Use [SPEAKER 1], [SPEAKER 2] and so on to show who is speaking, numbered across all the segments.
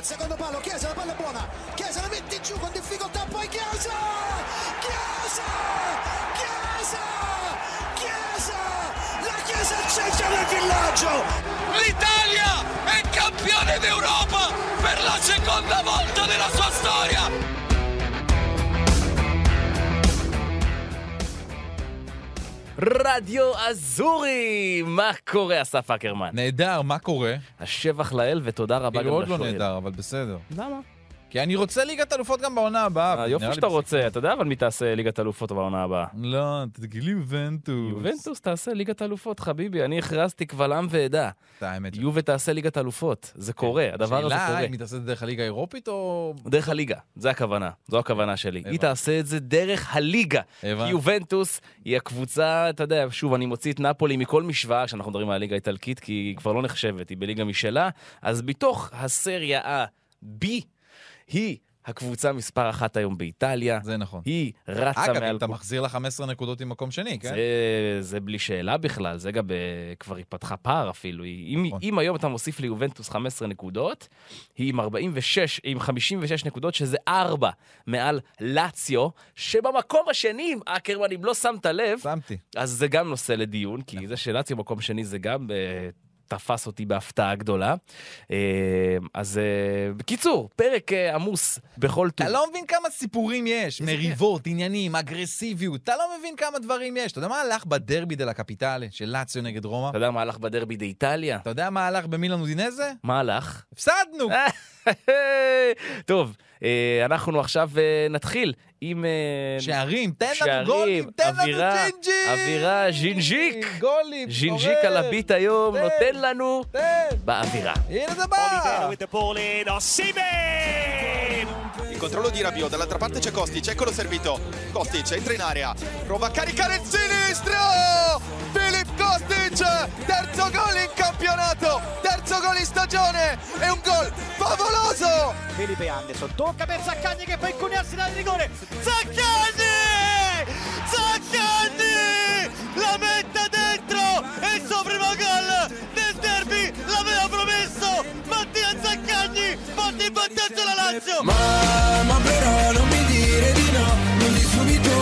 [SPEAKER 1] secondo palo, Chiesa, la palla è buona, Chiesa la mette giù con difficoltà, poi Chiesa! Chiesa! Chiesa! Chiesa! La Chiesa al centro del villaggio!
[SPEAKER 2] L'Italia è campione d'Europa per la seconda volta nella sua storia!
[SPEAKER 3] רדיו אזורי! מה קורה, אסף אקרמן?
[SPEAKER 4] נהדר, מה קורה?
[SPEAKER 3] השבח לאל ותודה רבה
[SPEAKER 4] כאילו
[SPEAKER 3] גם
[SPEAKER 4] עוד לא
[SPEAKER 3] לשואל.
[SPEAKER 4] נהדר, אבל בסדר.
[SPEAKER 3] למה?
[SPEAKER 4] כי אני רוצה ליגת אלופות גם בעונה הבאה. אבל נראה
[SPEAKER 3] היופי
[SPEAKER 4] לי
[SPEAKER 3] אה, שאתה
[SPEAKER 4] בסדר.
[SPEAKER 3] רוצה, אתה יודע אבל מי תעשה ליגת אלופות בעונה הבאה.
[SPEAKER 4] לא, תגידי יובנטוס.
[SPEAKER 3] יובנטוס תעשה ליגת אלופות, חביבי, אני הכרזתי קבל עם ועדה.
[SPEAKER 4] את האמת.
[SPEAKER 3] יובה תעשה ליגת אלופות, זה קורה, הדבר הזה
[SPEAKER 4] השאלה
[SPEAKER 3] קורה.
[SPEAKER 4] אם היא תעשה את זה דרך הליגה האירופית או...
[SPEAKER 3] דרך הליגה, זה הכוונה, זו הכוונה שלי. היא תעשה את זה דרך הליגה.
[SPEAKER 4] הבנתי.
[SPEAKER 3] כי יובנטוס היא הקבוצה, אתה יודע, שוב, אני מוציא את נפולי מכל משוואה, שאנחנו מדברים על הליגה האיטלקית, כי היא כבר לא נחשבת, היא בליגה משלה, אז בתוך הסריה ה-B, היא הקבוצה מספר אחת היום באיטליה.
[SPEAKER 4] זה נכון.
[SPEAKER 3] היא רצה
[SPEAKER 4] אגב, אם
[SPEAKER 3] מעל...
[SPEAKER 4] אתה מחזיר לה 15 נקודות עם מקום שני, כן?
[SPEAKER 3] זה, זה בלי שאלה בכלל, זה גם אה, כבר היא פתחה פער אפילו. היא, אם,
[SPEAKER 4] נכון.
[SPEAKER 3] אם היום אתה מוסיף ליובנטוס 15 נקודות, היא עם 46, עם 56 נקודות, שזה 4 מעל לאציו, שבמקום השני, אם אקרמן, אם לא שמת לב,
[SPEAKER 4] שמתי.
[SPEAKER 3] אז זה גם נושא לדיון,
[SPEAKER 4] נכון.
[SPEAKER 3] כי זה שלאציו מקום שני זה גם... אה, תפס אותי בהפתעה גדולה. אה, אז אה, בקיצור, פרק אה, עמוס בכל טוב.
[SPEAKER 4] אתה לא מבין כמה סיפורים יש,
[SPEAKER 3] איזה
[SPEAKER 4] מריבות, עניינים, אגרסיביות, אתה לא מבין כמה דברים יש. אתה יודע מה הלך בדרבי דה לה קפיטלה של לאציו נגד רומא?
[SPEAKER 3] אתה לא- יודע מה הלך בדרבי דאיטליה?
[SPEAKER 4] אתה יודע מה הלך במילאן אודינזה?
[SPEAKER 3] מה הלך? אה,
[SPEAKER 4] הפסדנו!
[SPEAKER 3] טוב, אה, אנחנו עכשיו אה, נתחיל עם... אה,
[SPEAKER 4] שערים, תן
[SPEAKER 3] שערים,
[SPEAKER 4] לנו גולים, תן לנו
[SPEAKER 3] אווירה,
[SPEAKER 4] ג'ינג'י!
[SPEAKER 3] אווירה, ז'ינג'יק!
[SPEAKER 4] גולים,
[SPEAKER 3] ז'ינג'יק
[SPEAKER 4] גורם.
[SPEAKER 3] על הביט היום
[SPEAKER 4] תן,
[SPEAKER 3] נותן לנו
[SPEAKER 4] תן!
[SPEAKER 3] באווירה.
[SPEAKER 4] הנה זה בא!
[SPEAKER 5] with the ball in Osimhen!
[SPEAKER 6] Il controllo di Rabiot, dall'altra parte c'è Kostic, eccolo servito. Kostic entra in area, prova a caricare il sinistro! Filip Kostic, terzo gol in campionato, terzo gol in stagione, è un gol favoloso!
[SPEAKER 5] Felipe Anderson, tocca per Zaccagni che fa incunearsi dal rigore. Zaccagni! Zaccagni! La mette dentro! È il suo primo gol del derby! L'aveva promesso Mattia Zaccagni! Porta in vantaggio la Lazio!
[SPEAKER 7] Ma però non mi dire di no, non di subito,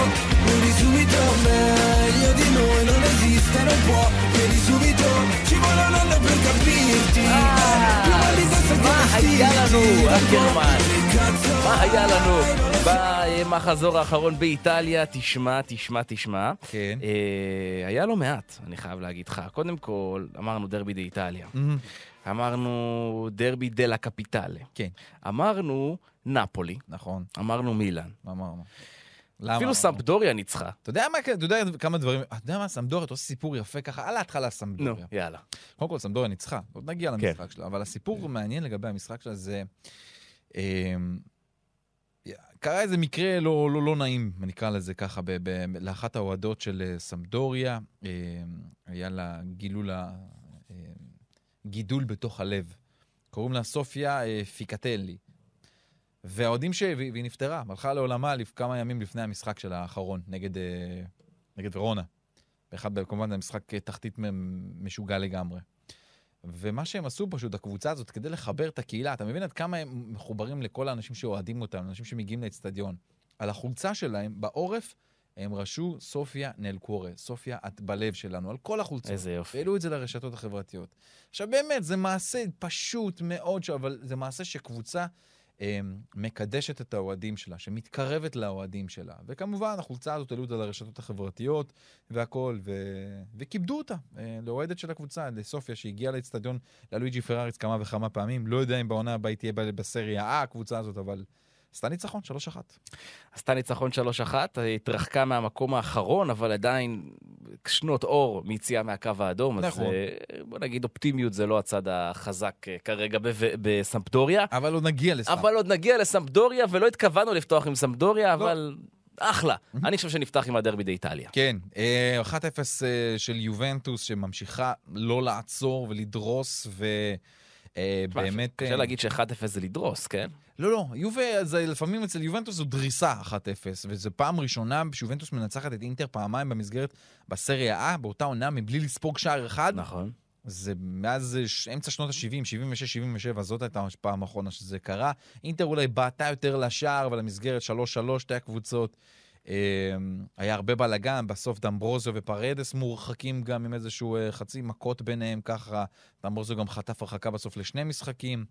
[SPEAKER 7] non di subito Meglio di noi non esiste, non può, che di subito Ci vuole un anno per capirti
[SPEAKER 3] Ah.
[SPEAKER 7] eh, Più valida senza
[SPEAKER 3] מה היה
[SPEAKER 7] vestirti.
[SPEAKER 3] לנו,
[SPEAKER 7] Non può,
[SPEAKER 3] אקרמן?
[SPEAKER 7] che cazzo
[SPEAKER 3] מה היה לנו במחזור האחרון באיטליה? תשמע, תשמע, תשמע.
[SPEAKER 4] כן.
[SPEAKER 3] אה, היה לא מעט, אני חייב להגיד לך. קודם כל, אמרנו דרבי דה איטליה. אמרנו דרבי דה לה קפיטלה.
[SPEAKER 4] כן,
[SPEAKER 3] אמרנו נפולי.
[SPEAKER 4] נכון,
[SPEAKER 3] אמרנו מילאן.
[SPEAKER 4] אמרנו. למה?
[SPEAKER 3] אפילו
[SPEAKER 4] אמרנו?
[SPEAKER 3] סמפדוריה ניצחה.
[SPEAKER 4] אתה יודע מה, אתה יודע כמה דברים, אתה יודע מה, סמדוריה, אתה עושה סיפור יפה ככה, על ההתחלה
[SPEAKER 3] נו,
[SPEAKER 4] סמדוריה.
[SPEAKER 3] יאללה.
[SPEAKER 4] קודם כל, סמדוריה ניצחה, עוד נגיע
[SPEAKER 3] כן.
[SPEAKER 4] למשחק שלה, אבל הסיפור המעניין לגבי המשחק שלה זה... אמ, קרה איזה מקרה לא, לא, לא נעים, נקרא לזה ככה, ב, ב, לאחת האוהדות של אה, סמדוריה, אמ, היה לה גילול, ה- אמ, גידול בתוך הלב. קוראים לה סופיה אה, פיקטלי. והאוהדים ש... והיא והיא נפטרה, הלכה לעולמה לפ... כמה ימים לפני המשחק שלה האחרון, נגד, אה, נגד ורונה. באחד, כמובן, זה משחק אה, תחתית מ- משוגע לגמרי. ומה שהם עשו פשוט, הקבוצה הזאת, כדי לחבר את הקהילה, אתה מבין עד כמה הם מחוברים לכל האנשים שאוהדים אותם, אנשים שמגיעים לאצטדיון. על החולצה שלהם, בעורף, הם רשו סופיה נלקורה, סופיה את בלב שלנו, על כל החולצות.
[SPEAKER 3] איזה יופי.
[SPEAKER 4] והעלו את זה לרשתות החברתיות. עכשיו באמת, זה מעשה פשוט מאוד, ש- אבל זה מעשה שקבוצה אה, מקדשת את האוהדים שלה, שמתקרבת לאוהדים שלה. וכמובן, החולצה הזאת העלו אותה לרשתות החברתיות והכול, ו... וכיבדו אותה, אה, לאוהדת של הקבוצה, לסופיה, שהגיעה לאצטדיון ללואיג'י פראריס כמה וכמה פעמים. לא יודע אם בעונה הבאה היא תהיה ב- בסריה A, הקבוצה הזאת, אבל... עשתה ניצחון, 3-1.
[SPEAKER 3] עשתה ניצחון 3-1, התרחקה מהמקום האחרון, אבל עדיין שנות אור מיציאה מהקו האדום.
[SPEAKER 4] נכון.
[SPEAKER 3] אז אה, בוא נגיד, אופטימיות זה לא הצד החזק אה, כרגע בב- בסמפדוריה.
[SPEAKER 4] אבל עוד נגיע לסתם.
[SPEAKER 3] אבל עוד נגיע לסמפדוריה, ולא התכוונו לפתוח עם
[SPEAKER 4] לא.
[SPEAKER 3] סמפדוריה, אבל אחלה. אני חושב שנפתח עם הדרבי דאיטליה.
[SPEAKER 4] כן, אה, 1-0 אה, של יובנטוס שממשיכה לא לעצור ולדרוס ו... אה,
[SPEAKER 3] תשמע,
[SPEAKER 4] באמת...
[SPEAKER 3] קשה
[SPEAKER 4] אה,
[SPEAKER 3] להגיד ש-1-0 זה לדרוס, כן?
[SPEAKER 4] לא, לא, יובה, זה לפעמים אצל יובנטוס זו דריסה 1-0, וזו פעם ראשונה שיובנטוס מנצחת את אינטר פעמיים במסגרת, בסריה A, באותה עונה, מבלי לספוג שער אחד.
[SPEAKER 3] נכון.
[SPEAKER 4] זה מאז אה, ש- אמצע שנות ה-70, 76, 77, זאת הייתה הפעם האחרונה שזה קרה. אינטר אולי בעטה יותר לשער ולמסגרת 3-3, שתי הקבוצות. אה, היה הרבה בלאגן, בסוף דמברוזו ופרדס מורחקים גם עם איזשהו אה, חצי מכות ביניהם ככה. דמברוזו גם חטף הרחקה בסוף לשני משחקים.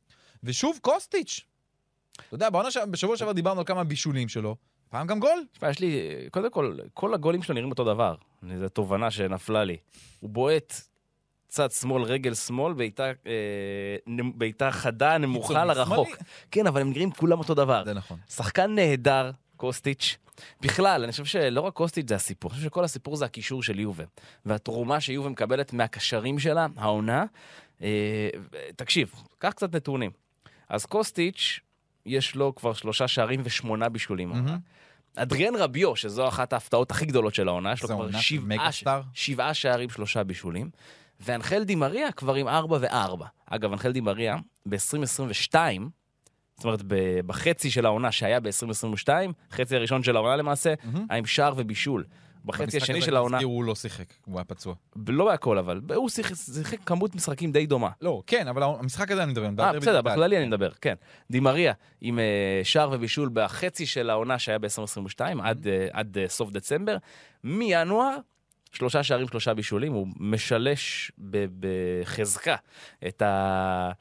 [SPEAKER 4] ושוב קוסטיץ'. אתה יודע, בעונה ש... בשבוע שעבר דיברנו על כמה בישולים שלו. פעם גם גול.
[SPEAKER 3] תשמע, יש לי, קודם כל, כל הגולים שלו נראים אותו דבר. אני- זו תובנה שנפלה לי. הוא בועט צד שמאל, רגל שמאל, בעיטה, אה, נמ- בעיטה חדה, נמוכה
[SPEAKER 4] קיצוני,
[SPEAKER 3] לרחוק.
[SPEAKER 4] שמאלי.
[SPEAKER 3] כן, אבל הם נראים כולם אותו דבר.
[SPEAKER 4] זה נכון.
[SPEAKER 3] שחקן נהדר, קוסטיץ'. בכלל, אני חושב שלא רק קוסטיץ' זה הסיפור, אני חושב שכל הסיפור זה הקישור של יובה. והתרומה שיובה מקבלת מהקשרים שלה, העונה. אה, תקשיב, קח קצת נתונים. אז קוסטיץ', יש לו כבר שלושה שערים ושמונה בישולים. העונה. אדריאן רביו, שזו אחת ההפתעות הכי גדולות של העונה, יש לו
[SPEAKER 4] זו
[SPEAKER 3] כבר
[SPEAKER 4] עונת
[SPEAKER 3] שבעה, ש...
[SPEAKER 4] מגה-סטאר.
[SPEAKER 3] שבעה שערים, שלושה בישולים. ואנחל דימריה כבר עם ארבע וארבע. אגב, אנחל דימריה ב-2022, זאת אומרת ב- בחצי של העונה שהיה ב-2022, חצי הראשון של העונה למעשה, היה עם שער ובישול. בחצי
[SPEAKER 4] במשחק
[SPEAKER 3] השני
[SPEAKER 4] הזה,
[SPEAKER 3] של העונה,
[SPEAKER 4] תזכיר, הוא לא שיחק, הוא היה פצוע.
[SPEAKER 3] ב- לא בהכל אבל, ב- הוא שיחק- שיחק כמות משחקים די דומה.
[SPEAKER 4] לא, כן, אבל המשחק הזה אני מדבר. אני
[SPEAKER 3] אה,
[SPEAKER 4] מדבר
[SPEAKER 3] בסדר,
[SPEAKER 4] בדיוק
[SPEAKER 3] בכללי אני מדבר, כן. דימריה עם אה, שער ובישול בחצי של העונה שהיה ב-2022, עד, אה, עד אה, סוף דצמבר. מינואר, שלושה שערים, שלושה בישולים, הוא משלש ב- בחזקה את ה...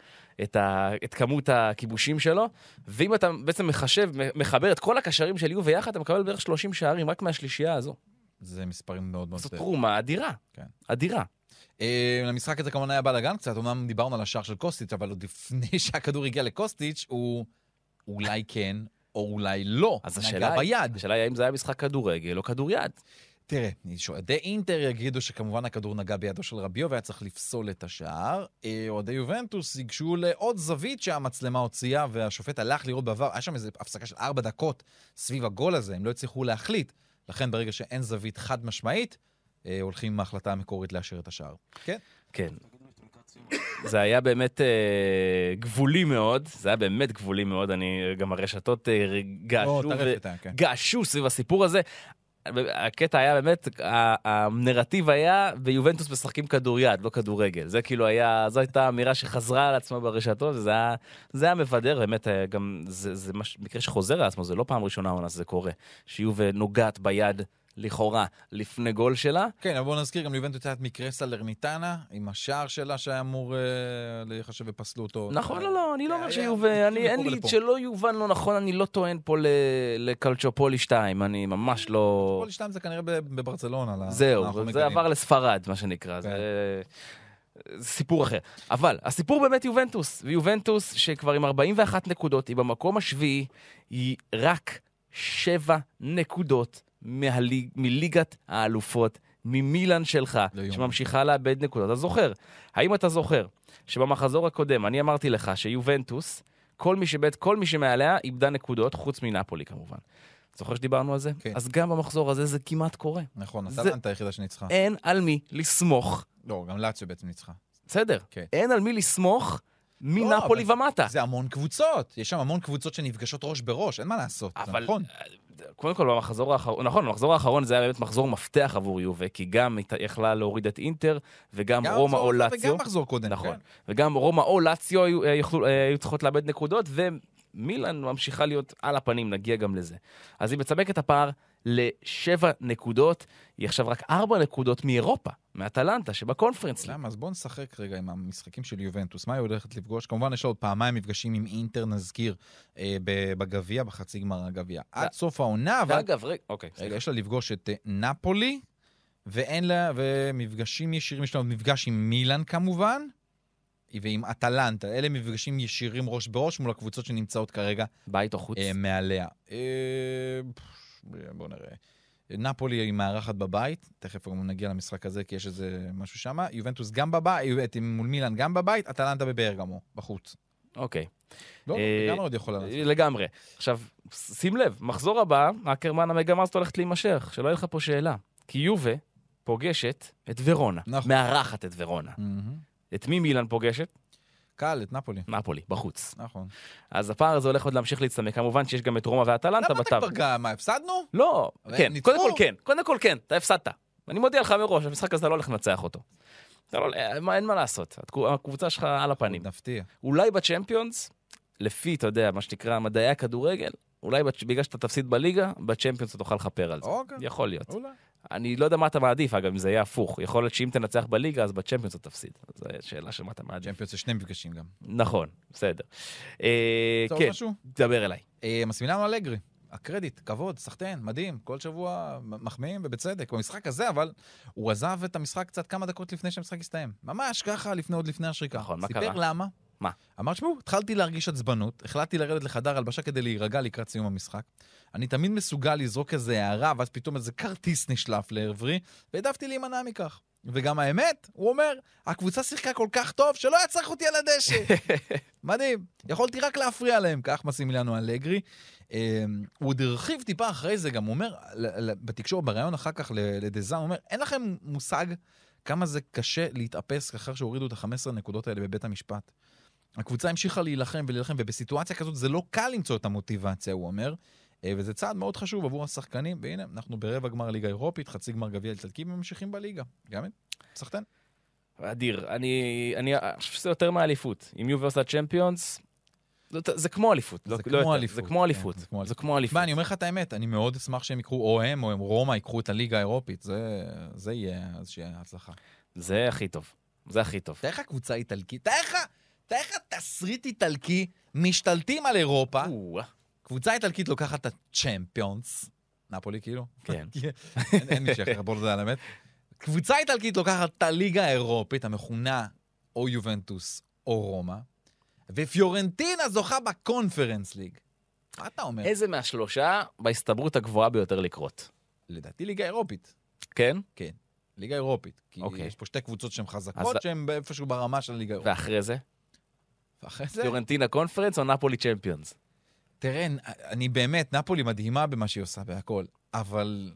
[SPEAKER 3] את, ה, את כמות הכיבושים שלו, ואם אתה בעצם מחשב, מחבר את כל הקשרים של יו ויחד, אתה מקבל בערך 30 שערים רק מהשלישייה הזו.
[SPEAKER 4] זה מספרים מאוד מאוד...
[SPEAKER 3] זאת
[SPEAKER 4] גדולים.
[SPEAKER 3] תרומה אדירה.
[SPEAKER 4] כן.
[SPEAKER 3] אדירה.
[SPEAKER 4] אה, למשחק הזה כמובן היה בלאגן קצת, אמנם דיברנו על השער של קוסטיץ', אבל עוד לפני שהכדור הגיע לקוסטיץ', הוא אולי כן, או אולי לא,
[SPEAKER 3] אז
[SPEAKER 4] נגע
[SPEAKER 3] השאלה, היא-
[SPEAKER 4] ביד.
[SPEAKER 3] השאלה היא האם זה היה משחק כדורגל או כדוריד.
[SPEAKER 4] תראה, אוהדי אינטר יגידו שכמובן הכדור נגע בידו של רביו והיה צריך לפסול את השער. אה, אוהדי יובנטוס ייגשו לעוד זווית שהמצלמה הוציאה והשופט הלך לראות בעבר, היה שם איזו הפסקה של ארבע דקות סביב הגול הזה, הם לא הצליחו להחליט. לכן ברגע שאין זווית חד משמעית, אה, הולכים עם ההחלטה המקורית לאשר את השער. כן?
[SPEAKER 3] כן. זה היה באמת אה, גבולי מאוד, זה היה באמת גבולי מאוד, אני, גם הרשתות אה, געשו,
[SPEAKER 4] או,
[SPEAKER 3] ו-
[SPEAKER 4] טרפת, כן.
[SPEAKER 3] געשו סביב הסיפור הזה. הקטע היה באמת, ה- הנרטיב היה ביובנטוס משחקים כדוריד, לא כדורגל. זה כאילו היה, זו הייתה אמירה שחזרה על עצמה ברשתות, וזה היה, זה היה מבדר, באמת, אה, גם זה, זה מש, מקרה שחוזר על עצמו, זה לא פעם ראשונה עונה שזה קורה, שיובל נוגעת ביד, לכאורה, לפני גול שלה.
[SPEAKER 4] כן, אבל בואו נזכיר גם ליובנטוס היה את מקרה סלרניטנה, עם השער שלה שהיה אמור אה, להיחשב ופסלו אותו. אה,
[SPEAKER 3] נכון, לא, לא, אני לא אומר
[SPEAKER 4] היה-
[SPEAKER 3] שיובה, אני,
[SPEAKER 4] לפה
[SPEAKER 3] אין לי,
[SPEAKER 4] ולפה.
[SPEAKER 3] שלא יובן לא נכון, אני לא טוען פה ל- לקלצ'ופולי 2, אני ממש לא...
[SPEAKER 4] כל שתיים זה כנראה בב- בברצלונה. לה- אנחנו כן.
[SPEAKER 3] זהו, זה
[SPEAKER 4] מגלים.
[SPEAKER 3] עבר לספרד, מה שנקרא, זה זה סיפור אחר. אבל הסיפור באמת יובנטוס, ויובנטוס שכבר עם 41 נקודות, היא במקום השביעי, היא רק 7 נקודות מהליג- מליגת האלופות, ממילאן שלך,
[SPEAKER 4] לא יאומן.
[SPEAKER 3] שממשיכה לאבד נקודות. אתה זוכר, האם אתה זוכר שבמחזור הקודם אני אמרתי לך שיובנטוס, כל מי שבית, כל מי שמעליה איבדה נקודות, חוץ מנפולי כמובן. זוכר שדיברנו על זה?
[SPEAKER 4] כן.
[SPEAKER 3] אז גם במחזור הזה זה כמעט קורה.
[SPEAKER 4] נכון,
[SPEAKER 3] זה-
[SPEAKER 4] הטלנטה היחידה שניצחה.
[SPEAKER 3] אה, אין על מי לסמוך.
[SPEAKER 4] לא, גם לאציו בעצם ניצחה.
[SPEAKER 3] בסדר.
[SPEAKER 4] כן.
[SPEAKER 3] אין על מי לסמוך
[SPEAKER 4] לא,
[SPEAKER 3] מנפולי
[SPEAKER 4] אבל
[SPEAKER 3] ומטה.
[SPEAKER 4] זה המון קבוצות, יש שם המון קבוצות שנפגשות ראש בראש, אין מה לעשות, זה
[SPEAKER 3] אבל-
[SPEAKER 4] נכון.
[SPEAKER 3] קודם כל, במחזור האחרון, נכון, במחזור האחרון זה היה באמת מחזור מפתח עבור יובה, כי גם היא יכלה להוריד את אינטר, וגם
[SPEAKER 4] גם
[SPEAKER 3] רומא
[SPEAKER 4] מחזור
[SPEAKER 3] או
[SPEAKER 4] ראשון
[SPEAKER 3] לאציו.
[SPEAKER 4] וגם מחזור קודם,
[SPEAKER 3] נכון.
[SPEAKER 4] כן.
[SPEAKER 3] וגם רומא או לאציו היו, אה, יכלו- אה, היו צריכות לאבד נקודות, ומילאן ממשיכה להיות על הפנים, נגיע גם לזה. אז היא מצמקת את הפער לשבע נקודות, היא עכשיו רק ארבע נקודות מאירופה, מאטלנטה שבקונפרנס. ליג.
[SPEAKER 4] למה? אז בואו נשחק רגע עם המשחקים של יובנטוס. מה היא הולכת לפגוש? כמובן, יש לה עוד פעמיים מפגשים עם אינטר, נזכיר, אה, ב- בגביע, בחצי גמר הגביע. עד סוף העונה, אבל...
[SPEAKER 3] אה. ואגב, רגע, אוקיי,
[SPEAKER 4] רגע,
[SPEAKER 3] סליחה.
[SPEAKER 4] יש לה לפגוש את אה, נפולי, ואין לה, ומפגשים ישירים, יש לה עוד מפגש עם מילאן כמובן, ועם אטלנטה. אלה מפגשים ישירים ראש בראש מול הקבוצות שנמצאות כרגע
[SPEAKER 3] בית או חוץ?
[SPEAKER 4] אה, מעליה. אה, פש, בואו נראה. נפולי היא מארחת בבית, תכף גם נגיע למשחק הזה, כי יש איזה משהו שם. יובנטוס גם בבית, יובנטוס מול מילאן גם בבית, אטלנטה בברגמו, בחוץ.
[SPEAKER 3] אוקיי.
[SPEAKER 4] לא,
[SPEAKER 3] אה,
[SPEAKER 4] גם עוד יכולה לעשות.
[SPEAKER 3] לגמרי. עכשיו, ש- שים לב, מחזור הבא, אקרמן המגמה הזאת הולכת להימשך, שלא יהיה לך פה שאלה. כי יובה פוגשת את ורונה.
[SPEAKER 4] נכון.
[SPEAKER 3] מארחת את ורונה.
[SPEAKER 4] מהמם.
[SPEAKER 3] את מי מילאן פוגשת?
[SPEAKER 4] קל, את נפולי.
[SPEAKER 3] נפולי, בחוץ.
[SPEAKER 4] נכון.
[SPEAKER 3] אז הפער הזה הולך עוד להמשיך להצטמק. כמובן שיש גם את רומא ואטלנטה
[SPEAKER 4] למה אתה
[SPEAKER 3] בתווך.
[SPEAKER 4] כבר גם? מה, הפסדנו?
[SPEAKER 3] לא,
[SPEAKER 4] אבל הם
[SPEAKER 3] כן,
[SPEAKER 4] ניצחו.
[SPEAKER 3] קודם כל כן, קודם כל כן, אתה הפסדת. אני מודיע לך מראש, המשחק הזה אתה לא הולך לנצח אותו. אתה לא- אה, מה- אין מה לעשות, התקו- הקבוצה שלך על הפנים.
[SPEAKER 4] נפתיע.
[SPEAKER 3] אולי בצ'מפיונס, לפי, אתה יודע, מה שנקרא מדעי הכדורגל, אולי בצ- בגלל שאתה תפסיד בליגה, בצ'מפיונס אתה תוכל לכפר על זה.
[SPEAKER 4] אוקיי.
[SPEAKER 3] יכול להיות.
[SPEAKER 4] אולי.
[SPEAKER 3] אני לא יודע מה אתה מעדיף, אגב, אם זה יהיה הפוך. יכול להיות שאם תנצח בליגה, אז בצ'מפיונס אתה תפסיד. זו שאלה של מה אתה מעדיף.
[SPEAKER 4] צ'מפיונס זה שני מפגשים גם.
[SPEAKER 3] נכון, בסדר. אה,
[SPEAKER 4] רוצה עוד
[SPEAKER 3] כן,
[SPEAKER 4] משהו?
[SPEAKER 3] דבר אליי.
[SPEAKER 4] אה, מסמילנו אלגרי, הקרדיט, כבוד, סחטיין, מדהים, כל שבוע מ- מחמיאים ובצדק. במשחק הזה, אבל הוא עזב את המשחק קצת כמה דקות לפני שהמשחק הסתיים. ממש ככה, לפני עוד לפני השריקה.
[SPEAKER 3] נכון, מה
[SPEAKER 4] סיפר
[SPEAKER 3] קרה?
[SPEAKER 4] למה.
[SPEAKER 3] מה?
[SPEAKER 4] אמר, תשמעו, התחלתי להרגיש עצבנות, החלטתי לרדת לחדר הלבשה כדי להירגע לקראת סיום המשחק. אני תמיד מסוגל לזרוק איזה הערה, ואז פתאום איזה כרטיס נשלף לעברי, והעדפתי להימנע מכך. וגם האמת, הוא אומר, הקבוצה שיחקה כל כך טוב שלא היה צריך אותי על הדשא. מדהים. יכולתי רק להפריע להם, כך מסימיליאנו אלגרי. אה, הוא עוד הרחיב טיפה אחרי זה, גם הוא אומר, ל- ל- בתקשורת, בריאיון אחר כך ל- לדזאן, הוא אומר, אין לכם מושג כמה זה קשה להתאפס אחר שהורידו את ה-15 נקודות האלה בבית המשפט. הקבוצה המשיכה להילחם ולהילחם, ובסיטואציה כזאת זה לא קל למצוא את המוטיבציה, הוא אומר. אה, וזה צעד מאוד חשוב עבור השחקנים, והנה, אנחנו ברבע גמר ליגה אירופית, חצי גמר גביע איטלקי, וממשיכים בליגה. גם סחטיין.
[SPEAKER 3] אדיר. אני אני חושב שזה יותר מהאליפות. אם יובי עושה צ'מפיונס, זה- זה כמו אליפות. לא-
[SPEAKER 4] זה
[SPEAKER 3] לא
[SPEAKER 4] כמו
[SPEAKER 3] יותר.
[SPEAKER 4] אליפות,
[SPEAKER 3] זה כמו אליפות.
[SPEAKER 4] כן, זה כמו
[SPEAKER 3] זה כמו אליפות.
[SPEAKER 4] מה, אני אומר לך את האמת, אני מאוד אשמח שהם יקחו, או הם או הם רומא יקחו את הליגה האירופית, זה, זה יהיה איזושהי הצלחה.
[SPEAKER 3] זה הכי טוב. זה הכי טוב.
[SPEAKER 4] תאר לך קבוצה איטלקית, תאר לך, תאר לך תסריט איטלקי, משתלטים על אירופה,
[SPEAKER 3] או-אה.
[SPEAKER 4] קבוצה איטלקית לוקחת את הצ'מפיונס, נפולי כאילו,
[SPEAKER 3] כן.
[SPEAKER 4] כי- אין אין מי שיכול בוא נודה על האמת. קבוצה איטלקית לוקחת את הליגה האירופית המכונה או יובנטוס או רומא, ופיורנטינה זוכה בקונפרנס ליג. מה אתה אומר?
[SPEAKER 3] איזה מהשלושה בהסתברות הגבוהה ביותר לקרות?
[SPEAKER 4] לדעתי ליגה אירופית.
[SPEAKER 3] כן?
[SPEAKER 4] ליגה אירופית. כי
[SPEAKER 3] אוקיי.
[SPEAKER 4] יש פה שתי קבוצות שהן
[SPEAKER 3] אז-
[SPEAKER 4] חזקות, שהן איפשהו ברמה של הליגה האירופית.
[SPEAKER 3] ואחרי זה?
[SPEAKER 4] ואחרי זה,
[SPEAKER 3] פיורנטינה קונפרנס או נפולי צ'מפיונס?
[SPEAKER 4] תראה, אני באמת, נפולי מדהימה במה שהיא עושה והכל, אבל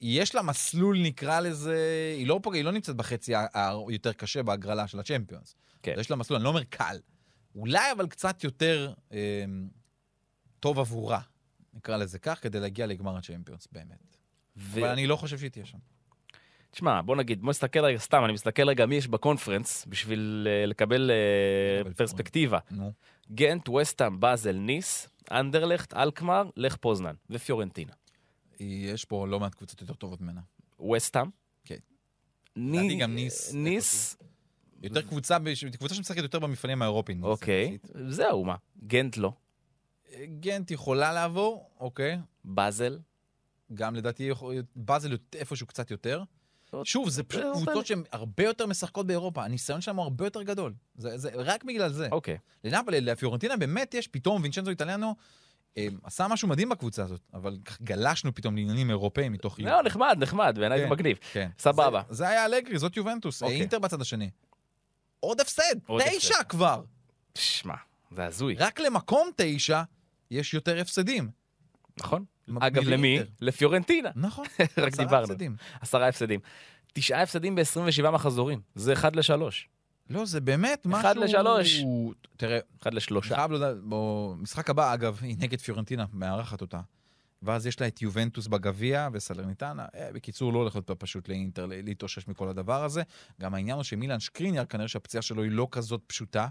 [SPEAKER 4] יש לה מסלול, נקרא לזה, היא לא, פוגע, היא לא נמצאת בחצי ה- היותר קשה בהגרלה של הצ'מפיונס.
[SPEAKER 3] כן.
[SPEAKER 4] יש לה מסלול, אני לא אומר קל. אולי אבל קצת יותר אה, טוב עבורה, נקרא לזה כך, כדי להגיע לגמר הצ'מפיונס, באמת.
[SPEAKER 3] ו-
[SPEAKER 4] אבל אני לא חושב שהיא תהיה שם.
[SPEAKER 3] תשמע, בוא נגיד, בוא נסתכל רגע, סתם, אני מסתכל רגע מי יש בקונפרנס בשביל אה, לקבל אה,
[SPEAKER 4] לקבל
[SPEAKER 3] פרספקטיבה.
[SPEAKER 4] נו.
[SPEAKER 3] גנט, וסטאם, באזל, ניס, אנדרלכט, אלקמר, לך פוזנן ופיורנטינה.
[SPEAKER 4] יש פה לא מעט קבוצות יותר טובות ממנה.
[SPEAKER 3] וסטאם.
[SPEAKER 4] כן.
[SPEAKER 3] ני-
[SPEAKER 4] לדעתי גם ניס.
[SPEAKER 3] ניס,
[SPEAKER 4] יותר קבוצה, בש- קבוצה שמשחקת יותר במפעלים האירופיים. ניס,
[SPEAKER 3] אוקיי.
[SPEAKER 4] יחסית.
[SPEAKER 3] זהו, מה? גנט לא.
[SPEAKER 4] גנט יכולה לעבור, אוקיי.
[SPEAKER 3] באזל.
[SPEAKER 4] גם לדעתי יכול- באזל יות- איפשהו קצת יותר.
[SPEAKER 3] עוד-
[SPEAKER 4] שוב, זה פשוט
[SPEAKER 3] עוד-
[SPEAKER 4] קבוצות שהן הרבה יותר משחקות באירופה, הניסיון שלהן הוא הרבה יותר גדול. זה זה רק בגלל זה.
[SPEAKER 3] אוקיי.
[SPEAKER 4] לנאפולי, לפיורנטינה באמת יש, פתאום וינצ'נזו איטליאנו אה, עשה משהו מדהים בקבוצה הזאת, אבל ככה גלשנו פתאום לעניינים אירופאים מתוך...
[SPEAKER 3] לא, נחמד, נחמד, בעיניי זה
[SPEAKER 4] כאילו. כן.
[SPEAKER 3] מגניב.
[SPEAKER 4] כן.
[SPEAKER 3] סבבה.
[SPEAKER 4] זה, זה היה אלגרי, זאת יובנטוס,
[SPEAKER 3] אוקיי.
[SPEAKER 4] אינטר בצד השני. עוד הפסד,
[SPEAKER 3] עוד
[SPEAKER 4] תשע
[SPEAKER 3] הפסד.
[SPEAKER 4] כבר.
[SPEAKER 3] שמע, זה הזוי,
[SPEAKER 4] רק למקום תשע יש יותר הפסדים.
[SPEAKER 3] נכון?
[SPEAKER 4] מ-
[SPEAKER 3] אגב,
[SPEAKER 4] מלאינטר.
[SPEAKER 3] למי? לפיורנטינה.
[SPEAKER 4] נכון,
[SPEAKER 3] רק
[SPEAKER 4] עשרה
[SPEAKER 3] דיברנו.
[SPEAKER 4] הפסדים.
[SPEAKER 3] עשרה הפסדים. תשעה הפסדים ב-27 מחזורים. זה אחד לשלוש.
[SPEAKER 4] לא, זה באמת משהו...
[SPEAKER 3] אחד לשלוש. לא
[SPEAKER 4] תראה,
[SPEAKER 3] אחד
[SPEAKER 4] אני
[SPEAKER 3] לשלושה.
[SPEAKER 4] חייב לדעת, במשחק הבא, אגב, היא נגד פיורנטינה, מארחת אותה. ואז יש לה את יובנטוס בגביע וסלרניטנה. אה, בקיצור, לא הולך להיות פה פשוט לאינטר לה- להתאושש מכל הדבר הזה. גם העניין הוא שמילן שקריניאר, כנראה שהפציעה שלו היא לא כזאת פשוטה.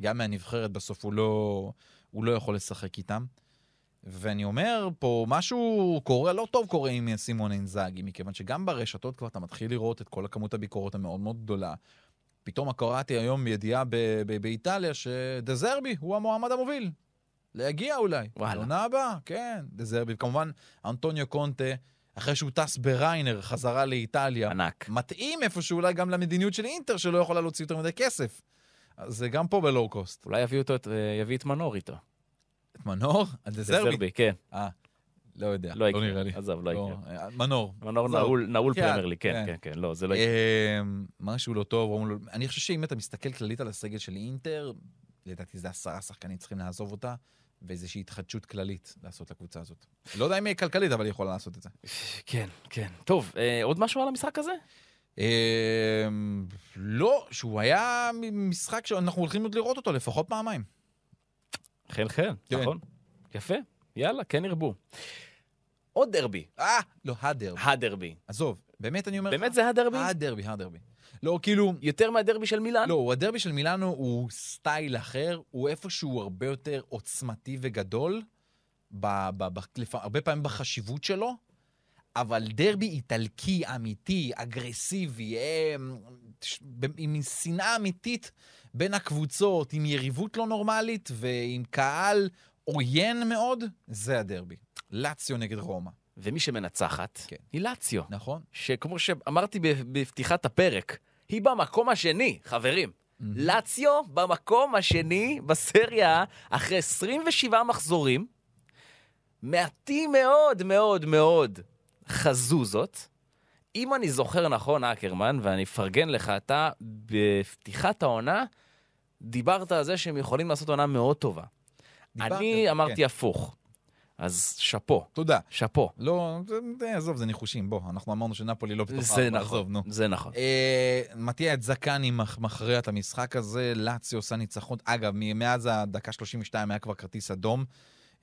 [SPEAKER 4] גם מהנבחרת בסוף הוא לא, הוא לא יכול לשחק איתם. ואני אומר, פה משהו קורה, לא טוב קורה עם סימון אינזאגי, מכיוון שגם ברשתות כבר אתה מתחיל לראות את כל הכמות הביקורות המאוד מאוד גדולה. פתאום קראתי היום ידיעה ב- ב- באיטליה שדזרבי הוא המועמד המוביל. להגיע אולי.
[SPEAKER 3] וואלה.
[SPEAKER 4] לעונה הבאה, כן, דזרבי. כמובן, אנטוניו קונטה, אחרי שהוא טס בריינר חזרה לאיטליה,
[SPEAKER 3] ענק.
[SPEAKER 4] מתאים איפשהו אולי גם למדיניות של אינטר, שלא יכולה להוציא יותר מדי כסף. אז זה גם פה בלואו קוסט.
[SPEAKER 3] אולי יביא אותו את- אה, יביא את מנור איתו.
[SPEAKER 4] את מנור? הדזרבי?
[SPEAKER 3] דזרבי, כן.
[SPEAKER 4] לא יודע,
[SPEAKER 3] לא
[SPEAKER 4] לא
[SPEAKER 3] יקרה.
[SPEAKER 4] נראה לי.
[SPEAKER 3] עזוב, לא יקרה.
[SPEAKER 4] אה, מנור.
[SPEAKER 3] מנור
[SPEAKER 4] עזוב.
[SPEAKER 3] נעול- נעול
[SPEAKER 4] כן.
[SPEAKER 3] פרמייר לי, כן,
[SPEAKER 4] כן.
[SPEAKER 3] כן, כן, לא, זה לא יקרה.
[SPEAKER 4] אה, משהו לא טוב, רומלו- אני חושב שאם אתה מסתכל כללית על הסגל של אינטר, לדעתי זה עשרה שחקנים צריכים לעזוב אותה, ואיזושהי התחדשות כללית לעשות לקבוצה הזאת. לא יודע אם היא כלכלית, אבל היא יכולה לעשות את זה.
[SPEAKER 3] כן, כן. טוב, אה, עוד משהו על המשחק הזה?
[SPEAKER 4] אה, לא, שהוא היה משחק שאנחנו הולכים עוד לראות אותו לפחות פעמיים.
[SPEAKER 3] חן חן,
[SPEAKER 4] כן.
[SPEAKER 3] נכון? יפה, יאללה, כן ירבו. עוד דרבי.
[SPEAKER 4] אה, לא, הדרבי.
[SPEAKER 3] הדרבי.
[SPEAKER 4] עזוב, באמת אני אומר לך.
[SPEAKER 3] באמת זה הדרבי?
[SPEAKER 4] הדרבי, הדרבי. לא, כאילו...
[SPEAKER 3] יותר מהדרבי של מילאן?
[SPEAKER 4] לא, הוא- הדרבי של מילאנו הוא סטייל אחר, הוא איפשהו הרבה יותר עוצמתי וגדול, ב, ב, ב, לפ... הרבה פעמים בחשיבות שלו, אבל דרבי איטלקי, אמיתי, אגרסיבי, אה, ש- ב- עם שנאה אמיתית בין הקבוצות, עם יריבות לא נורמלית ועם קהל עוין מאוד, זה הדרבי. לאציו נגד רומא,
[SPEAKER 3] ומי שמנצחת
[SPEAKER 4] כן.
[SPEAKER 3] היא לאציו,
[SPEAKER 4] נכון?
[SPEAKER 3] שכמו שאמרתי ב- בפתיחת הפרק, היא במקום השני, חברים. לאציו במקום השני בסריה A, אחרי 27 מחזורים, מעטים מאוד מאוד מאוד חזו זאת. אם אני זוכר נכון, אקרמן, ואני אפרגן לך, אתה בפתיחת העונה דיברת על זה שהם יכולים לעשות עונה מאוד טובה.
[SPEAKER 4] דיברת,
[SPEAKER 3] אני אמרתי
[SPEAKER 4] כן.
[SPEAKER 3] הפוך, אז שאפו,
[SPEAKER 4] תודה.
[SPEAKER 3] שאפו.
[SPEAKER 4] לא, זה- זה- עזוב, זה ניחושים, בוא, אנחנו אמרנו שנפולי לא בתוך
[SPEAKER 3] זה
[SPEAKER 4] הארבע,
[SPEAKER 3] נכון,
[SPEAKER 4] עזוב, נו.
[SPEAKER 3] זה נכון.
[SPEAKER 4] אה, מטיע את זקני מח- מכריע את המשחק הזה, לאצי עושה ניצחון. אגב, מ- מאז הדקה 32 היה כבר כרטיס אדום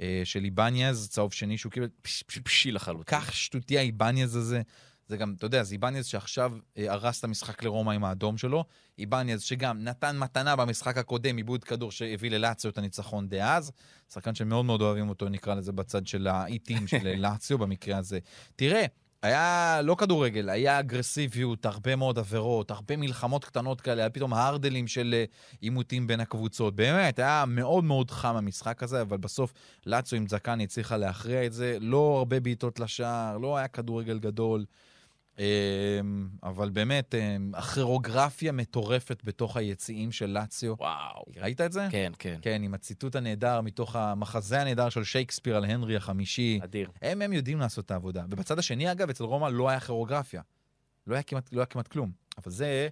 [SPEAKER 4] אה, של איבניאז, צהוב שני שהוא קיבל. פש, פש,
[SPEAKER 3] טיפשי לחלוטין.
[SPEAKER 4] כך שטותי האיבניאז הזה. זה גם, אתה יודע, זה איבניאז שעכשיו אה, הרס את המשחק לרומא עם האדום שלו. איבניאז שגם נתן מתנה במשחק הקודם, עיבוד כדור שהביא ללאציו את הניצחון דאז. שחקן שמאוד מאוד אוהבים אותו, נקרא לזה, בצד של האיטים של לאציו במקרה הזה. תראה, היה לא כדורגל, היה אגרסיביות, הרבה מאוד עבירות, הרבה מלחמות קטנות כאלה, היה פתאום הרדלים של אה, עימותים בין הקבוצות. באמת, היה מאוד מאוד חם המשחק הזה, אבל בסוף לאצו עם זקני הצליחה להכריע את זה. לא הרבה בעיטות לשער, לא היה כדורגל גדול. אמ, אבל באמת, אמ, הכירוגרפיה מטורפת בתוך היציעים של לאציו.
[SPEAKER 3] וואו.
[SPEAKER 4] ראית את זה?
[SPEAKER 3] כן, כן.
[SPEAKER 4] כן, עם הציטוט הנהדר מתוך המחזה הנהדר של שייקספיר על הנרי החמישי.
[SPEAKER 3] אדיר.
[SPEAKER 4] הם, הם יודעים לעשות את העבודה. ובצד השני, אגב, אצל רומא לא היה כירוגרפיה. לא היה כמעט, לא היה כמעט כלום. אבל זה,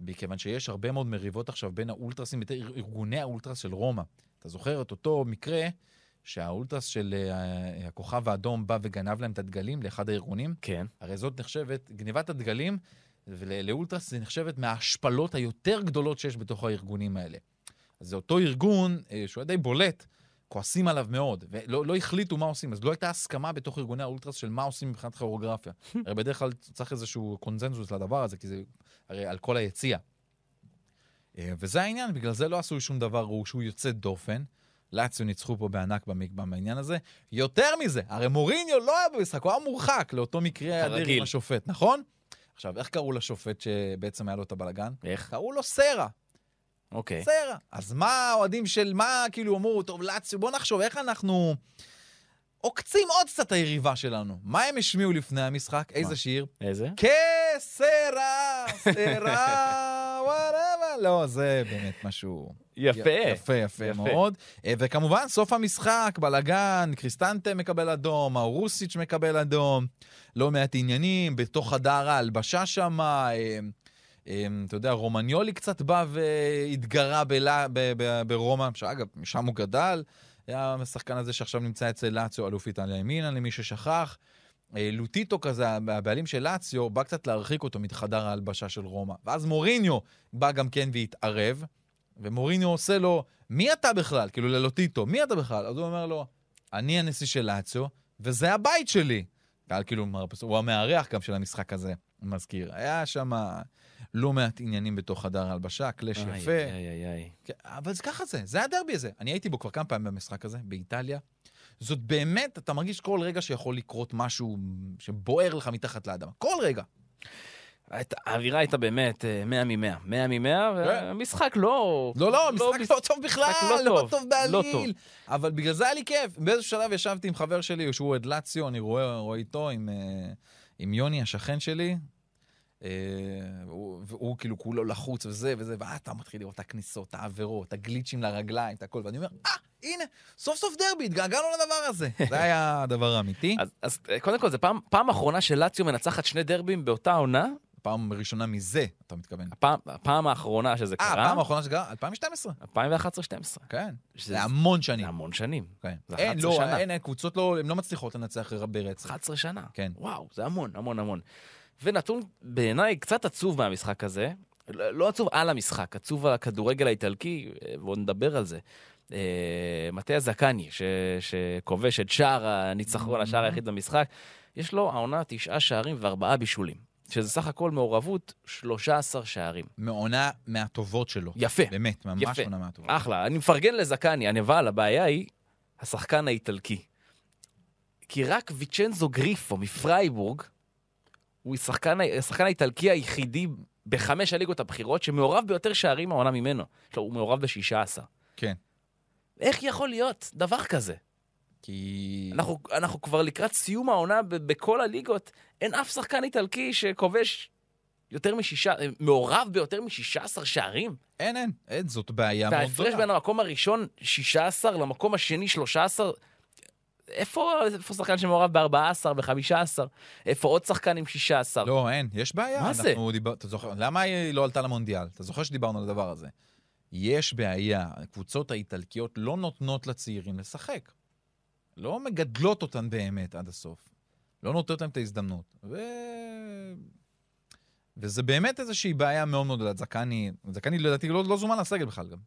[SPEAKER 4] מכיוון שיש הרבה מאוד מריבות עכשיו בין האולטרסים, בין ארגוני האולטרס של רומא. אתה זוכר את אותו מקרה שהאולטרס של אה, הכוכב האדום בא וגנב להם את הדגלים לאחד הארגונים?
[SPEAKER 3] כן.
[SPEAKER 4] הרי זאת נחשבת, גניבת הדגלים ול- לאולטרס זה נחשבת מההשפלות היותר גדולות שיש בתוך הארגונים האלה. אז זה אותו ארגון אה, שהוא היה די בולט, כועסים עליו מאוד, ולא לא החליטו מה עושים, אז לא הייתה הסכמה בתוך ארגוני האולטרס של מה עושים מבחינת כוריאוגרפיה. הרי בדרך כלל צריך איזשהו קונזנזוס לדבר הזה, כי זה הרי על כל היציע. אה, וזה העניין, בגלל זה לא עשו שום דבר הוא- שהוא יוצא דופן. לאציו ניצחו פה בענק במקבע בעניין הזה. יותר מזה, הרי מוריניו לא היה במשחק, הוא היה מורחק לאותו מקרה אדיר
[SPEAKER 3] כרגיל.
[SPEAKER 4] עם השופט, נכון? עכשיו, איך קראו לשופט שבעצם היה לו את הבלגן?
[SPEAKER 3] איך?
[SPEAKER 4] קראו לו סרה.
[SPEAKER 3] אוקיי.
[SPEAKER 4] בסדר. אז מה האוהדים של, מה כאילו אמרו, טוב, לאציו, בוא נחשוב איך אנחנו עוקצים עוד קצת את היריבה שלנו. מה הם השמיעו לפני המשחק? איזה שיר?
[SPEAKER 3] איזה?
[SPEAKER 4] כסרה, סרה, וואלה, לא, זה באמת משהו...
[SPEAKER 3] יפה.
[SPEAKER 4] יפה, יפה מאוד. אה, וכמובן, סוף המשחק, בלאגן, קריסטנטה מקבל אדום, האורוסיץ' מקבל אדום, לא מעט עניינים, בתוך חדר ההלבשה שם, אה, אה, אתה יודע, רומניולי קצת בא והתגרה בלה- ב- ב- ברומא, שאגב, משם הוא גדל. היה השחקן הזה שעכשיו נמצא אצל לאציו, אלוף איטליה ימינה, למי ששכח. אה, לוטיטו כזה, הבעלים של לאציו, בא קצת להרחיק אותו מחדר ההלבשה של רומא. ואז מוריניו בא גם כן והתערב, ומוריניו עושה לו, מי אתה בכלל? כאילו ללוטיטו, מי אתה בכלל? אז הוא אומר לו, אני הנשיא של לאציו, וזה הבית שלי. קהל כאילו, מרפס- הוא המארח גם של המשחק הזה, הוא מזכיר. היה שם לא מעט עניינים בתוך חדר ההלבשה, קלאש
[SPEAKER 3] איי,
[SPEAKER 4] יפה.
[SPEAKER 3] איי, איי, איי.
[SPEAKER 4] כן, אבל זה ככה זה, זה הדרבי הזה. אני הייתי בו כבר כמה פעמים במשחק הזה, באיטליה. זאת באמת, אתה מרגיש כל רגע שיכול לקרות משהו שבוער לך מתחת לאדמה. כל רגע.
[SPEAKER 3] הייתה- האווירה הייתה באמת אה, 100 מ-100. 100 מ-100,
[SPEAKER 4] כן.
[SPEAKER 3] והמשחק לא...
[SPEAKER 4] לא, לא, משחק
[SPEAKER 3] מש-
[SPEAKER 4] לא טוב בכלל,
[SPEAKER 3] משחק
[SPEAKER 4] לא טוב
[SPEAKER 3] לא
[SPEAKER 4] בעליל.
[SPEAKER 3] טוב.
[SPEAKER 4] אבל בגלל זה היה לי כיף. באיזשהו שלב ישבתי עם חבר שלי, שהוא אוהד לאציו, אני רואה רואה איתו, עם, אה, עם יוני, השכן שלי. אה, והוא, והוא כאילו כולו לחוץ וזה וזה, ואז אתה מתחיל לראות את הכניסות, העבירות, הגליצ'ים לרגליים, את הכל, ואני אומר, אה, הנה, סוף סוף דרבי, התגעגענו לדבר הזה. זה היה הדבר האמיתי.
[SPEAKER 3] אז- אז אה, קודם כל, זו פעם- פעם אחרונה שלאציו מנצחת שני דרבים באותה עונה?
[SPEAKER 4] פעם ראשונה מזה, אתה מתכוון.
[SPEAKER 3] הפעם- הפעם האחרונה שזה
[SPEAKER 4] אה,
[SPEAKER 3] קרה?
[SPEAKER 4] הפעם האחרונה שקרה? 2012,
[SPEAKER 3] 2011-2012.
[SPEAKER 4] כן.
[SPEAKER 3] שזה-
[SPEAKER 4] זה המון
[SPEAKER 3] זה
[SPEAKER 4] שנים.
[SPEAKER 3] המון שנים.
[SPEAKER 4] כן.
[SPEAKER 3] זה
[SPEAKER 4] אין,
[SPEAKER 3] 11
[SPEAKER 4] לא,
[SPEAKER 3] שנה.
[SPEAKER 4] אין, קבוצות לא, הן לא מצליחות לנצח ברצף.
[SPEAKER 3] 11 שנה.
[SPEAKER 4] כן.
[SPEAKER 3] וואו, זה המון, המון, המון. ונתון בעיניי קצת עצוב מהמשחק הזה, לא לא עצוב על המשחק, עצוב על הכדורגל האיטלקי, אה, בואו נדבר על זה. אה, מטה זקני, ש- שכובש את שער הניצחון, השער היחיד במשחק, יש לו העונה תשעה שערים וארבעה בישולים. שזה סך הכל מעורבות 13 שערים.
[SPEAKER 4] מעונה מהטובות שלו.
[SPEAKER 3] יפה.
[SPEAKER 4] באמת, ממש
[SPEAKER 3] יפה. אה?
[SPEAKER 4] עונה מהטובות.
[SPEAKER 3] אחלה, אני מפרגן לזקני, אני- אבל הבעיה היא השחקן האיטלקי. כי רק ויצ'נזו גריפו מפרייבורג, הוא השחקן, ה- השחקן האיטלקי היחידי בחמש הליגות הבכירות שמעורב ביותר שערים העונה ממנו. לא, הוא מעורב ב-16.
[SPEAKER 4] כן.
[SPEAKER 3] איך יכול להיות דבר כזה?
[SPEAKER 4] כי...
[SPEAKER 3] אנחנו, אנחנו כבר לקראת סיום העונה ב- בכל הליגות, אין אף שחקן איטלקי שכובש יותר משישה, מעורב ביותר מ-16 שערים.
[SPEAKER 4] אין, אין, אין, זאת בעיה מאוד
[SPEAKER 3] וההפרש
[SPEAKER 4] גדולה.
[SPEAKER 3] בין המקום הראשון, 16, למקום השני, 13, איפה, איפה שחקן שמעורב ב-14, ב-15? איפה עוד שחקן עם 16?
[SPEAKER 4] לא, אין, יש בעיה.
[SPEAKER 3] מה זה?
[SPEAKER 4] אנחנו דיבר... אתה זוכר, למה היא לא עלתה למונדיאל? אתה זוכר שדיברנו על הדבר הזה. יש בעיה, הקבוצות האיטלקיות לא נותנות לצעירים לשחק. לא מגדלות אותן באמת עד הסוף. לא נותנות להם את ההזדמנות. ו... וזה באמת איזושהי בעיה מאוד מאוד גדולה. זקני, זקני לדעתי לא, לא זומן לסגל בכלל גם.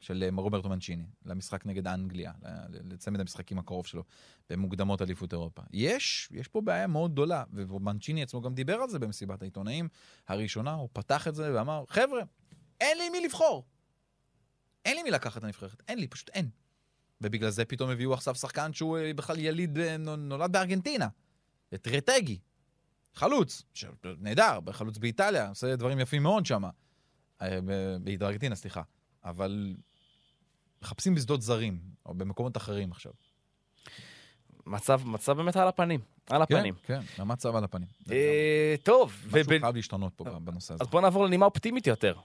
[SPEAKER 4] של אה, רוברטו מנצ'יני, למשחק נגד אנגליה, ל- לצמד המשחקים הקרוב שלו. במוקדמות אליפות אירופה. יש, יש פה בעיה מאוד גדולה, ומנצ'יני עצמו גם דיבר על זה במסיבת העיתונאים הראשונה, הוא פתח את זה ואמר, חבר'ה, אין לי מי לבחור. אין לי מי לקחת את הנבחרת, אין לי, פשוט אין. ובגלל זה פתאום הביאו עכשיו שחקן שהוא אה, בכלל יליד, אה, נו- נולד בארגנטינה, את רטגי, חלוץ, ש- נהדר, חלוץ באיטליה, עושה דברים יפים מאוד שם, בארגנטינה, סליחה. אבל מחפשים בשדות זרים, או במקומות אחרים עכשיו.
[SPEAKER 3] מצב, מצב באמת על הפנים. על הפנים.
[SPEAKER 4] כן, כן, המצב על הפנים. זה
[SPEAKER 3] אה, טוב,
[SPEAKER 4] גם משהו
[SPEAKER 3] ובין-
[SPEAKER 4] חייב להשתנות פה בנושא הזה.
[SPEAKER 3] אז בוא נעבור לנימה אופטימית יותר.